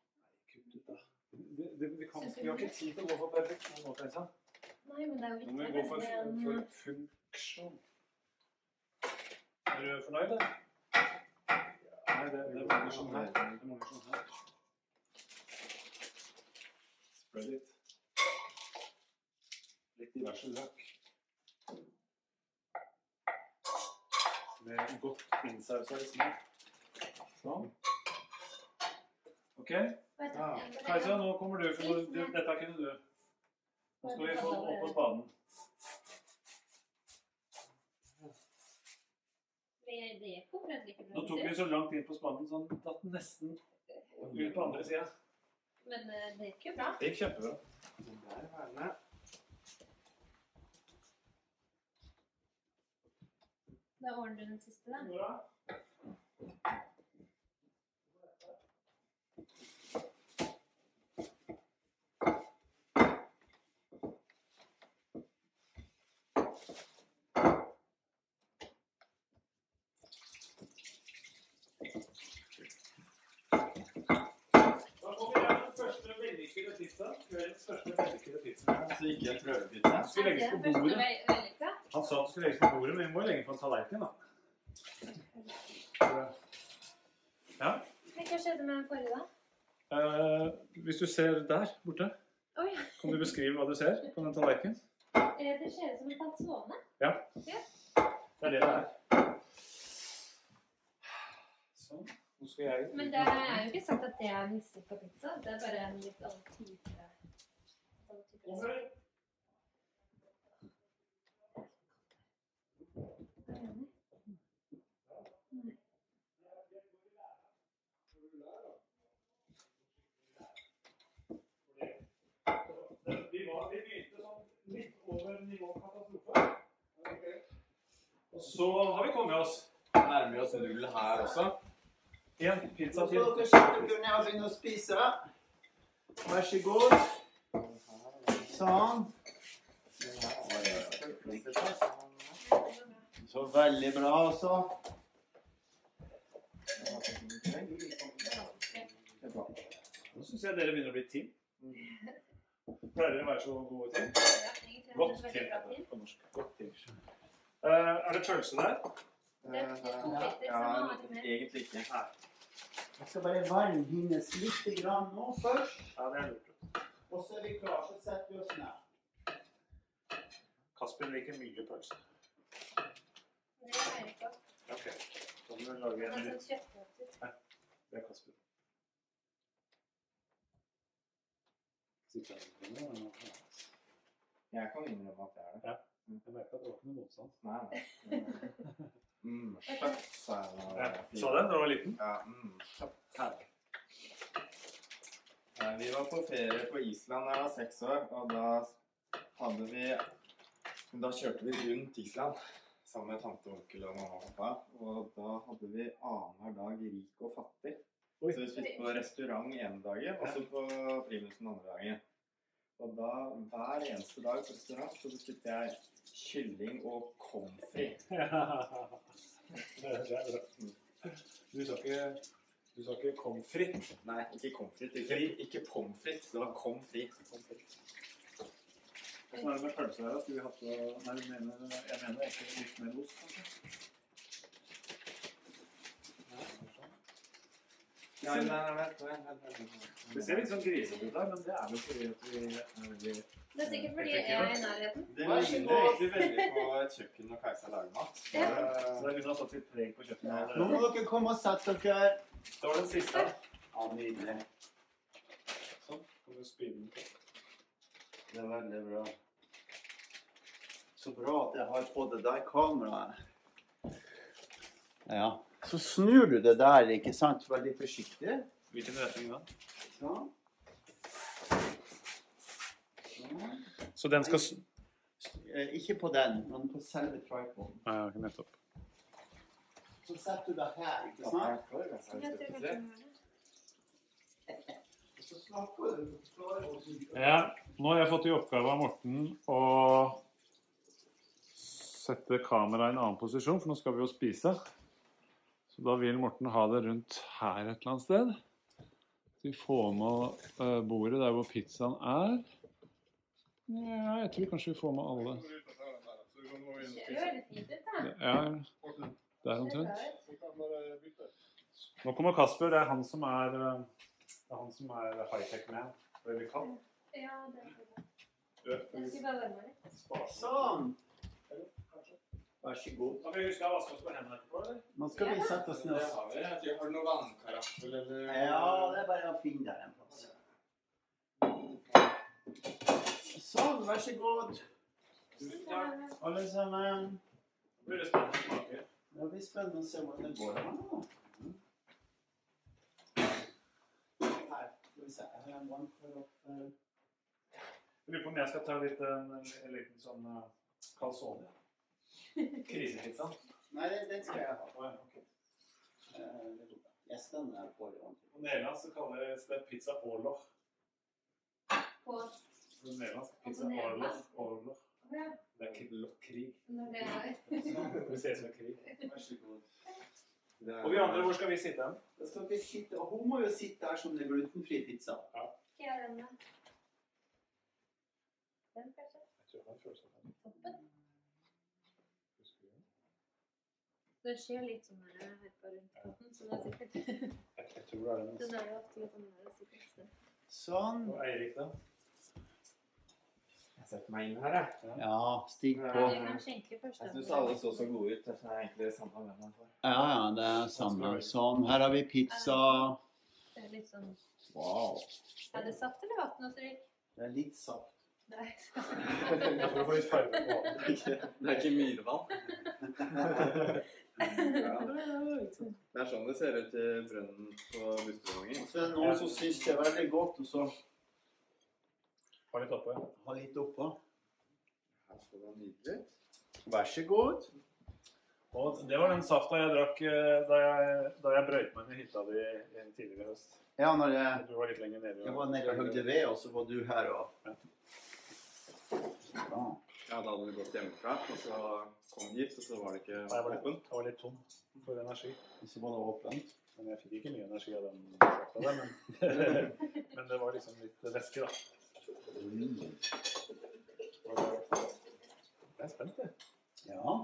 [SPEAKER 5] Kutt ut, da. Det, det, vi, kan, vi har ikke tid til å gå for perfeksjon nå, Kajsa.
[SPEAKER 4] Nei, men det er jo
[SPEAKER 5] Nå må
[SPEAKER 4] viktigere
[SPEAKER 5] vi gå for,
[SPEAKER 4] enn
[SPEAKER 5] fu- for funksjon. Er du fornøyd, da? Nei, det, det mangler sånn her. Det mangler sånn her. Spray litt. Litt diverse løk. Med godt innsausa smør. Sånn. Ok.
[SPEAKER 4] Vet du,
[SPEAKER 5] Ja.
[SPEAKER 4] jeg-
[SPEAKER 5] Kajsa, nå kommer du, for nå- dette kunne du. Nå skal vi få den opp på spaden.
[SPEAKER 4] Det det kom fremst like bra
[SPEAKER 5] Nå tok vi
[SPEAKER 4] sist,
[SPEAKER 5] så langt inn på spaden så den datt nesten ut på andre sida.
[SPEAKER 4] men eh, det gikk jo bra.
[SPEAKER 6] Det gikk kjempebra.
[SPEAKER 9] Den der vernet.
[SPEAKER 4] Da ordner du den siste, da.
[SPEAKER 5] Nora, Da får vi gjøre den første vellykkede pizzaen. Kveldens første vellykkede pizza.
[SPEAKER 6] Så gikk jeg prøvepizza.
[SPEAKER 5] Den skulle
[SPEAKER 4] Er det den
[SPEAKER 5] legges på
[SPEAKER 4] første
[SPEAKER 5] bordet.
[SPEAKER 4] ve- vellykka?
[SPEAKER 5] Han sa det skulle legges på bordet, men vi må jo legge den på en tallerken, da. Ja.
[SPEAKER 4] Nei, Hva skjedde med den forrige, da?
[SPEAKER 5] Eh, hvis du ser der borte,
[SPEAKER 4] Å ja.
[SPEAKER 5] kan du beskrive hva du ser på den tallerkenen?
[SPEAKER 4] eh, Det ser ut som en tatsone.
[SPEAKER 5] Det er det det er. Sånn. Nå skal jeg
[SPEAKER 4] Men det er jo ikke sagt at det er en mislykka pizza. Det er bare en litt annen type annen type-
[SPEAKER 5] Over. Vi var- vi begynte sånn litt over nivå katastrofe. Og så har vi kommet oss
[SPEAKER 6] Nærmer vi oss null her også.
[SPEAKER 5] en pizza
[SPEAKER 1] Så
[SPEAKER 5] til.
[SPEAKER 1] dere sitter dere ned og begynner å spise. Vær så god. Sånn. Så veldig bra, altså.
[SPEAKER 5] Nå syns jeg dere begynner å bli tynn. Pleier dere å være så gode til?
[SPEAKER 4] Ja, egentlig er
[SPEAKER 5] Godt
[SPEAKER 4] det
[SPEAKER 5] til.
[SPEAKER 4] veldig bra til.
[SPEAKER 5] på norsk. Godt til. Eh, er det pølse der?
[SPEAKER 4] Det er sånn to pizzaer
[SPEAKER 6] Ja,
[SPEAKER 4] som har vært med.
[SPEAKER 6] egentlig ikke.
[SPEAKER 1] Jeg skal bare varme hennes litt grann nå først.
[SPEAKER 5] Ja, det er lurt.
[SPEAKER 1] Og så er vi klare, så setter vi oss ned.
[SPEAKER 5] Kasper liker mye pølse.
[SPEAKER 4] Det er ikke godt.
[SPEAKER 5] Ok. Da må vi lage
[SPEAKER 4] Det
[SPEAKER 5] en
[SPEAKER 4] er sånn
[SPEAKER 5] litt
[SPEAKER 4] kjøttpølse.
[SPEAKER 5] Det er Kasper.
[SPEAKER 6] sånn- Jeg kan innrømme at jeg er det.
[SPEAKER 5] Jeg merka at det var ikke noe motstand.
[SPEAKER 6] Nei, nei. Mm, kjøtt, sa jeg da.
[SPEAKER 5] Ja. Sa det da du var liten?
[SPEAKER 6] Ja, mm, kjøtt. Herlig. Nei, Vi var på ferie på Island da jeg var seks år, og da hadde vi Da kjørte vi rundt Island sammen med tante og onkel og mamma og pappa. Og da hadde vi annenhver dag rik og fattig.
[SPEAKER 5] Oi.
[SPEAKER 6] Så vi spiste på restaurant ene dagen, og så på primus den andre dagen. Og da, hver eneste dag på restaurant, så bestilte jeg kylling og pommes frites.
[SPEAKER 5] det er bra. Du sa ikke du sa ikke 'kom fritt'?
[SPEAKER 6] Nei, ikke pommes frites. Ikke, ikke pommes frites, det var pommes frites.
[SPEAKER 5] Hvordan er det med pølse her? da? Skulle vi hatt på Nei, jeg mener, jeg mener egentlig litt mer ost, kanskje.
[SPEAKER 6] Nei, nei, nei, nei, nei, nei, nei, nei.
[SPEAKER 5] Det ser litt sånn grisete ut der, men det er jo fordi at vi, vi
[SPEAKER 4] Det er sikkert fordi jeg er i nærheten.
[SPEAKER 6] Det ligner egentlig veldig på et kjøkken når Kajsa lager mat.
[SPEAKER 4] Ja.
[SPEAKER 5] Så det kunne ha tatt sitt preg på kjøkkenet
[SPEAKER 1] Nå må
[SPEAKER 5] allerede.
[SPEAKER 1] dere komme og sette dere.
[SPEAKER 5] Det var den siste.
[SPEAKER 1] Ja, nydelig.
[SPEAKER 5] Sånn. Kan du spyde den på?
[SPEAKER 1] Det er veldig bra. Så bra at jeg har på det der kameraet. Ja. Så snur du det der, ikke sant? Veldig forsiktig.
[SPEAKER 5] Hvilken retning da?
[SPEAKER 1] Sånn. Sånn.
[SPEAKER 5] Så den
[SPEAKER 1] skal s- Eh, Ikke på den, men på selve tripoden.
[SPEAKER 5] Ja, nettopp.
[SPEAKER 1] Så setter du deg her, ikke sant?
[SPEAKER 4] Jeg tror kanskje
[SPEAKER 6] Sånn.
[SPEAKER 4] den var det.
[SPEAKER 1] Og så slapper du klar og du-
[SPEAKER 5] Ja, nå har jeg fått i oppgave av Morten å sette kameraet i en annen posisjon, for nå skal vi jo spise. Så da vil Morten ha det rundt her et eller annet sted. Så vi får med eh, bordet der hvor pizzaen er. Ja, jeg tror kanskje vi får med alle.
[SPEAKER 4] Det ser jo veldig fint ut, da.
[SPEAKER 5] Ja,
[SPEAKER 4] Det
[SPEAKER 5] der
[SPEAKER 4] ser
[SPEAKER 5] omtrent.
[SPEAKER 4] bra ut.
[SPEAKER 5] Nå kommer Kasper. Det er han som er, eh, det er, han som er high-tech man. Det vi kan.
[SPEAKER 4] Ja, det er bra. Jeg skal bare varme litt.
[SPEAKER 1] Sånn. Vær så god.
[SPEAKER 5] Kan vi huske å vaske oss på hendene etterpå, eller?
[SPEAKER 1] Nå skal vi sette oss ned.
[SPEAKER 6] Det har vi. Jeg tror- Har du noen vannkaraffel eller
[SPEAKER 1] Ja, det er bare å finne der en plass. Sånn, vær så god,
[SPEAKER 4] Tusen takk.
[SPEAKER 1] alle sammen.
[SPEAKER 5] Det blir det spennende å smake.
[SPEAKER 1] Det blir spennende å se hvordan det går her nå. Mm. Her, skal vi se. Her er en vann for opp, eh,
[SPEAKER 5] Jeg lurer på om jeg skal ta litt, eh, en, en liten sånn uh, calzone. Krisepizza.
[SPEAKER 1] Nei, den, den skal jeg ha. Eh, det er godt. Yes, den er på ordentlig.
[SPEAKER 5] På nederlandsk så kalles det pizza orloch.
[SPEAKER 4] På
[SPEAKER 5] På nederlandsk pizza
[SPEAKER 4] På nederlandsk?
[SPEAKER 5] orloch. orloch.
[SPEAKER 4] Ja,
[SPEAKER 5] Det er ikke lo- krig.
[SPEAKER 4] når det er
[SPEAKER 5] Vi ses ved krig.
[SPEAKER 1] Vær så god.
[SPEAKER 6] Det er-
[SPEAKER 5] Og vi andre, hvor skal vi sitte hen?
[SPEAKER 1] Da skal vi sitte, og hun må jo sitte der som det er glutenfri pizza.
[SPEAKER 4] fjærene. Den kanskje? Toppen. Det skjer litt sånn når jeg herper rundt potten, så det er sikkert
[SPEAKER 5] Jeg tror det er den. altså.
[SPEAKER 4] Den er jo ofte litt annerledes. sikkert, så.
[SPEAKER 1] Sånn.
[SPEAKER 5] Og Eirik, da?
[SPEAKER 6] Jeg setter meg inn her, jeg.
[SPEAKER 1] Ja, stig på.
[SPEAKER 4] Vi kan skjenke først.
[SPEAKER 6] Jeg
[SPEAKER 4] da.
[SPEAKER 6] syns alle så så gode ut. Derfor er jeg egentlig samme hvem jeg får.
[SPEAKER 1] Ja, ja, det er samme. Sånn, her har vi pizza.
[SPEAKER 4] Det er litt sånn
[SPEAKER 1] Wow.
[SPEAKER 4] Er det saft eller vann? Altså, Rick?
[SPEAKER 1] Det er litt saft.
[SPEAKER 4] Nei.
[SPEAKER 5] Jeg får få litt farge på hånden.
[SPEAKER 6] Det er ikke myrevann. Det er sånn det ser ut i brønnen på Bustervanger.
[SPEAKER 1] Og så er det noen som syns det er veldig godt, og så
[SPEAKER 5] Har litt oppe.
[SPEAKER 1] ha litt oppå.
[SPEAKER 6] Her skal det nydelig ut.
[SPEAKER 1] Vær så god.
[SPEAKER 5] Og det var den safta jeg drakk eh, da jeg, da jeg brøyt meg ned i hytta di en tidligere i høst.
[SPEAKER 1] Ja, når jeg,
[SPEAKER 5] Du var litt lenger nede.
[SPEAKER 1] jeg var nede og hogde ved, og så var du her og Bra.
[SPEAKER 6] Ja, da hadde vi gått hjemmefra, og så kom gift, og så var det
[SPEAKER 5] Nei, jeg var
[SPEAKER 6] ikke
[SPEAKER 5] litt,
[SPEAKER 6] åpent.
[SPEAKER 5] jeg var litt tom for energi.
[SPEAKER 1] Og så var det åpent.
[SPEAKER 5] Men jeg fikk ikke mye energi av den safta der, men, men det var liksom litt væske, da.
[SPEAKER 1] Mm.
[SPEAKER 5] Jeg er spent, jeg.
[SPEAKER 1] Ja.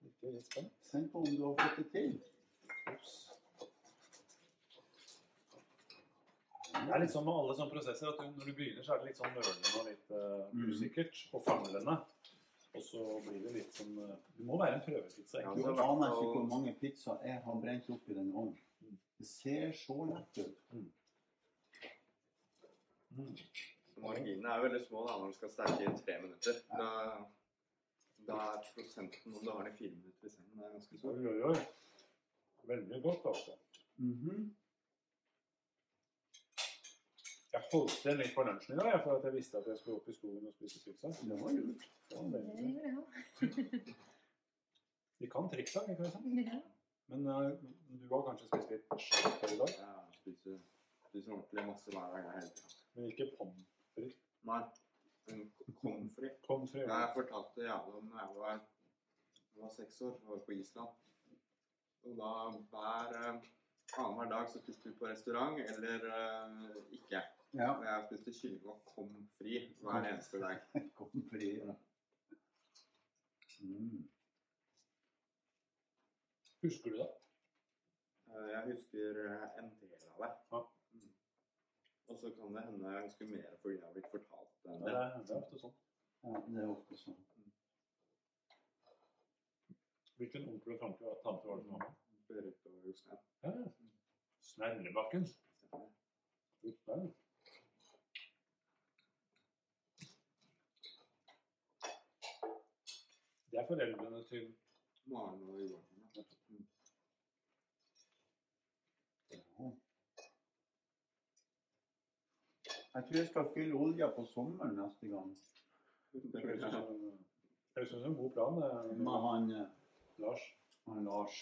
[SPEAKER 5] Virkelig litt spent.
[SPEAKER 1] Tenk på om du har fått det til.
[SPEAKER 5] Det er litt sånn med alle sånne prosesser at du, når du begynner, så er det litt sånn nølende og litt eh,
[SPEAKER 1] Mhm.
[SPEAKER 5] usikkert og famlende. Og så blir det litt sånn eh, Det må være en prøvepizza,
[SPEAKER 6] Ja,
[SPEAKER 5] egentlig.
[SPEAKER 1] Du
[SPEAKER 6] så i
[SPEAKER 1] aner
[SPEAKER 6] hvert fall-
[SPEAKER 1] ikke hvor mange pizzaer jeg har brent opp i den ovnen. Det ser så lett ut.
[SPEAKER 5] Mm.
[SPEAKER 6] Marginene er veldig små da, når du skal steke i tre minutter. Da, da er prosenten om du har den i fire minutter i sengen, det er ganske stor.
[SPEAKER 5] Oi, oi, oi. Veldig godt, altså.
[SPEAKER 1] Mhm.
[SPEAKER 5] Jeg holdt igjen litt på lunsjen i dag jeg, for at jeg visste at jeg skulle opp i skogen og spise pizza.
[SPEAKER 1] Det var lurt.
[SPEAKER 5] Det var
[SPEAKER 4] Det
[SPEAKER 5] veldig-
[SPEAKER 4] gjør jeg også.
[SPEAKER 5] De kan triksa, ikke sant?
[SPEAKER 4] Ja.
[SPEAKER 5] Men eh, du har kanskje spist litt skjønt før i dag?
[SPEAKER 6] Ja, spiser, spiser ordentlig masse hver dag jeg hele tiden.
[SPEAKER 5] Men ikke pommes frites?
[SPEAKER 6] Nei, en k- komfri.
[SPEAKER 5] Pommes frites.
[SPEAKER 6] Jeg fortalte jævla om da jeg var, jeg var seks år, jeg var på Island. Og da hver eh, annenhver dag så spiste vi på restaurant, eller eh, ikke.
[SPEAKER 1] Ja.
[SPEAKER 6] Og jeg spiste kylling og pommes frites hver eneste dag.
[SPEAKER 1] Kom fri. Ja. Mm.
[SPEAKER 5] Husker du det?
[SPEAKER 6] Eh, Jeg husker eh, en del av det.
[SPEAKER 5] Ja.
[SPEAKER 6] Mm. Og så kan det hende jeg husker mer fordi jeg har blitt fortalt det. enn
[SPEAKER 5] Det
[SPEAKER 6] det.
[SPEAKER 5] er, det er ofte sånn.
[SPEAKER 1] ja, det er ofte sånn.
[SPEAKER 5] Hvilken onkel og tante var tante var det som var med?
[SPEAKER 3] Mm.
[SPEAKER 6] Berit og Jostein.
[SPEAKER 5] Ja, ja. Snerrebakken. Uff, ja. Det er foreldrene til
[SPEAKER 6] Maren og Joakim. ja.
[SPEAKER 1] Jeg tror jeg skal fylle olja på sommeren neste gang.
[SPEAKER 6] Det
[SPEAKER 5] Det
[SPEAKER 6] vil jeg.
[SPEAKER 5] høres ut som en god plan, eh,
[SPEAKER 1] Med han, eh,
[SPEAKER 5] Lars.
[SPEAKER 1] han Lars.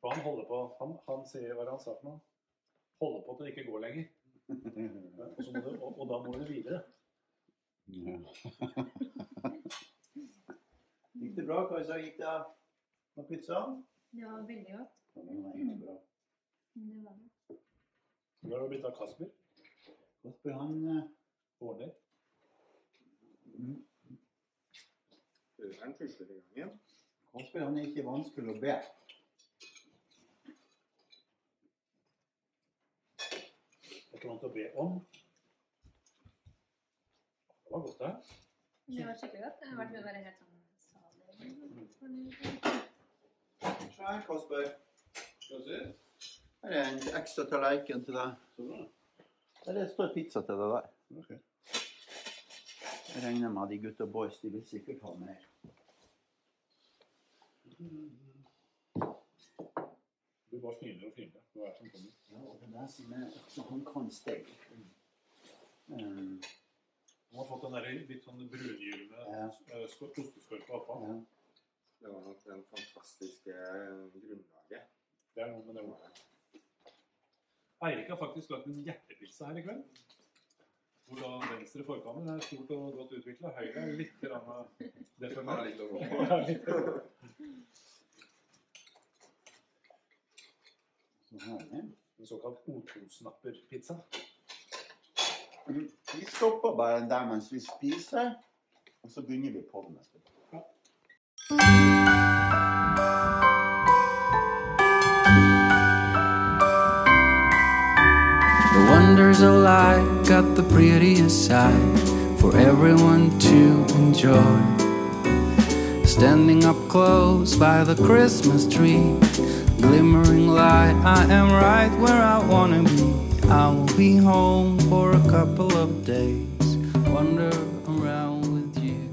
[SPEAKER 5] For han holder på Han, han sier hva er det han sa for noe. Holder på til det ikke går lenger.
[SPEAKER 1] Ja.
[SPEAKER 5] Og, så må du, og, og da må du videre.
[SPEAKER 1] Gikk det bra, Kajsa? Gikk det med pizzaen?
[SPEAKER 4] Det var veldig godt.
[SPEAKER 1] Ja, den var egentlig bra.
[SPEAKER 4] Det var det.
[SPEAKER 5] Du har jo blitt av Kasper.
[SPEAKER 1] Kasper, han eh,
[SPEAKER 5] Ordner.
[SPEAKER 1] mm.
[SPEAKER 6] Føreren tusler i gangen.
[SPEAKER 1] Kasper, han er ikke vanskelig å be.
[SPEAKER 5] Det er ikke noe å be om. Det var godt, det.
[SPEAKER 4] Det var skikkelig godt. Det har vært bare helt sånn
[SPEAKER 5] Mm.
[SPEAKER 4] Mm. salig.
[SPEAKER 1] Se her, Kasper.
[SPEAKER 6] Skal du se?
[SPEAKER 1] Her er en ekstra tallerken til deg. Der står pizza til deg der. Jeg regner med de gutta boys, de vil sikkert ha mer.
[SPEAKER 5] Du bare finere og finere. Det er som kommer.
[SPEAKER 1] Ja, og det er det som er så Han kan steg. Um,
[SPEAKER 5] Han har fått den der litt sånn brungylne
[SPEAKER 1] Ja.
[SPEAKER 5] eh, skor- osteskorpa oppå.
[SPEAKER 1] ja.
[SPEAKER 3] Det var nok den fantastiske grunnlaget.
[SPEAKER 5] Det er noe med det ordet. Eirik har faktisk lagt en hjertepizza her i kveld. Hvor da venstre forkammer er stort og godt utvikla. Høyre er litt grann eh,
[SPEAKER 3] Det er
[SPEAKER 5] deformert.
[SPEAKER 3] litt å gå på.
[SPEAKER 5] Hva
[SPEAKER 1] Så herlig.
[SPEAKER 5] En såkalt O2-snapper-pizza.
[SPEAKER 1] Mm, Vi stopper bare der mens vi spiser, og så begynner vi på den neste.
[SPEAKER 2] The wonders of light got the prettiest side for everyone to enjoy. Standing up close by the Christmas tree, glimmering light, I am right where I wanna be. I will be home for a couple of days, wander around with you.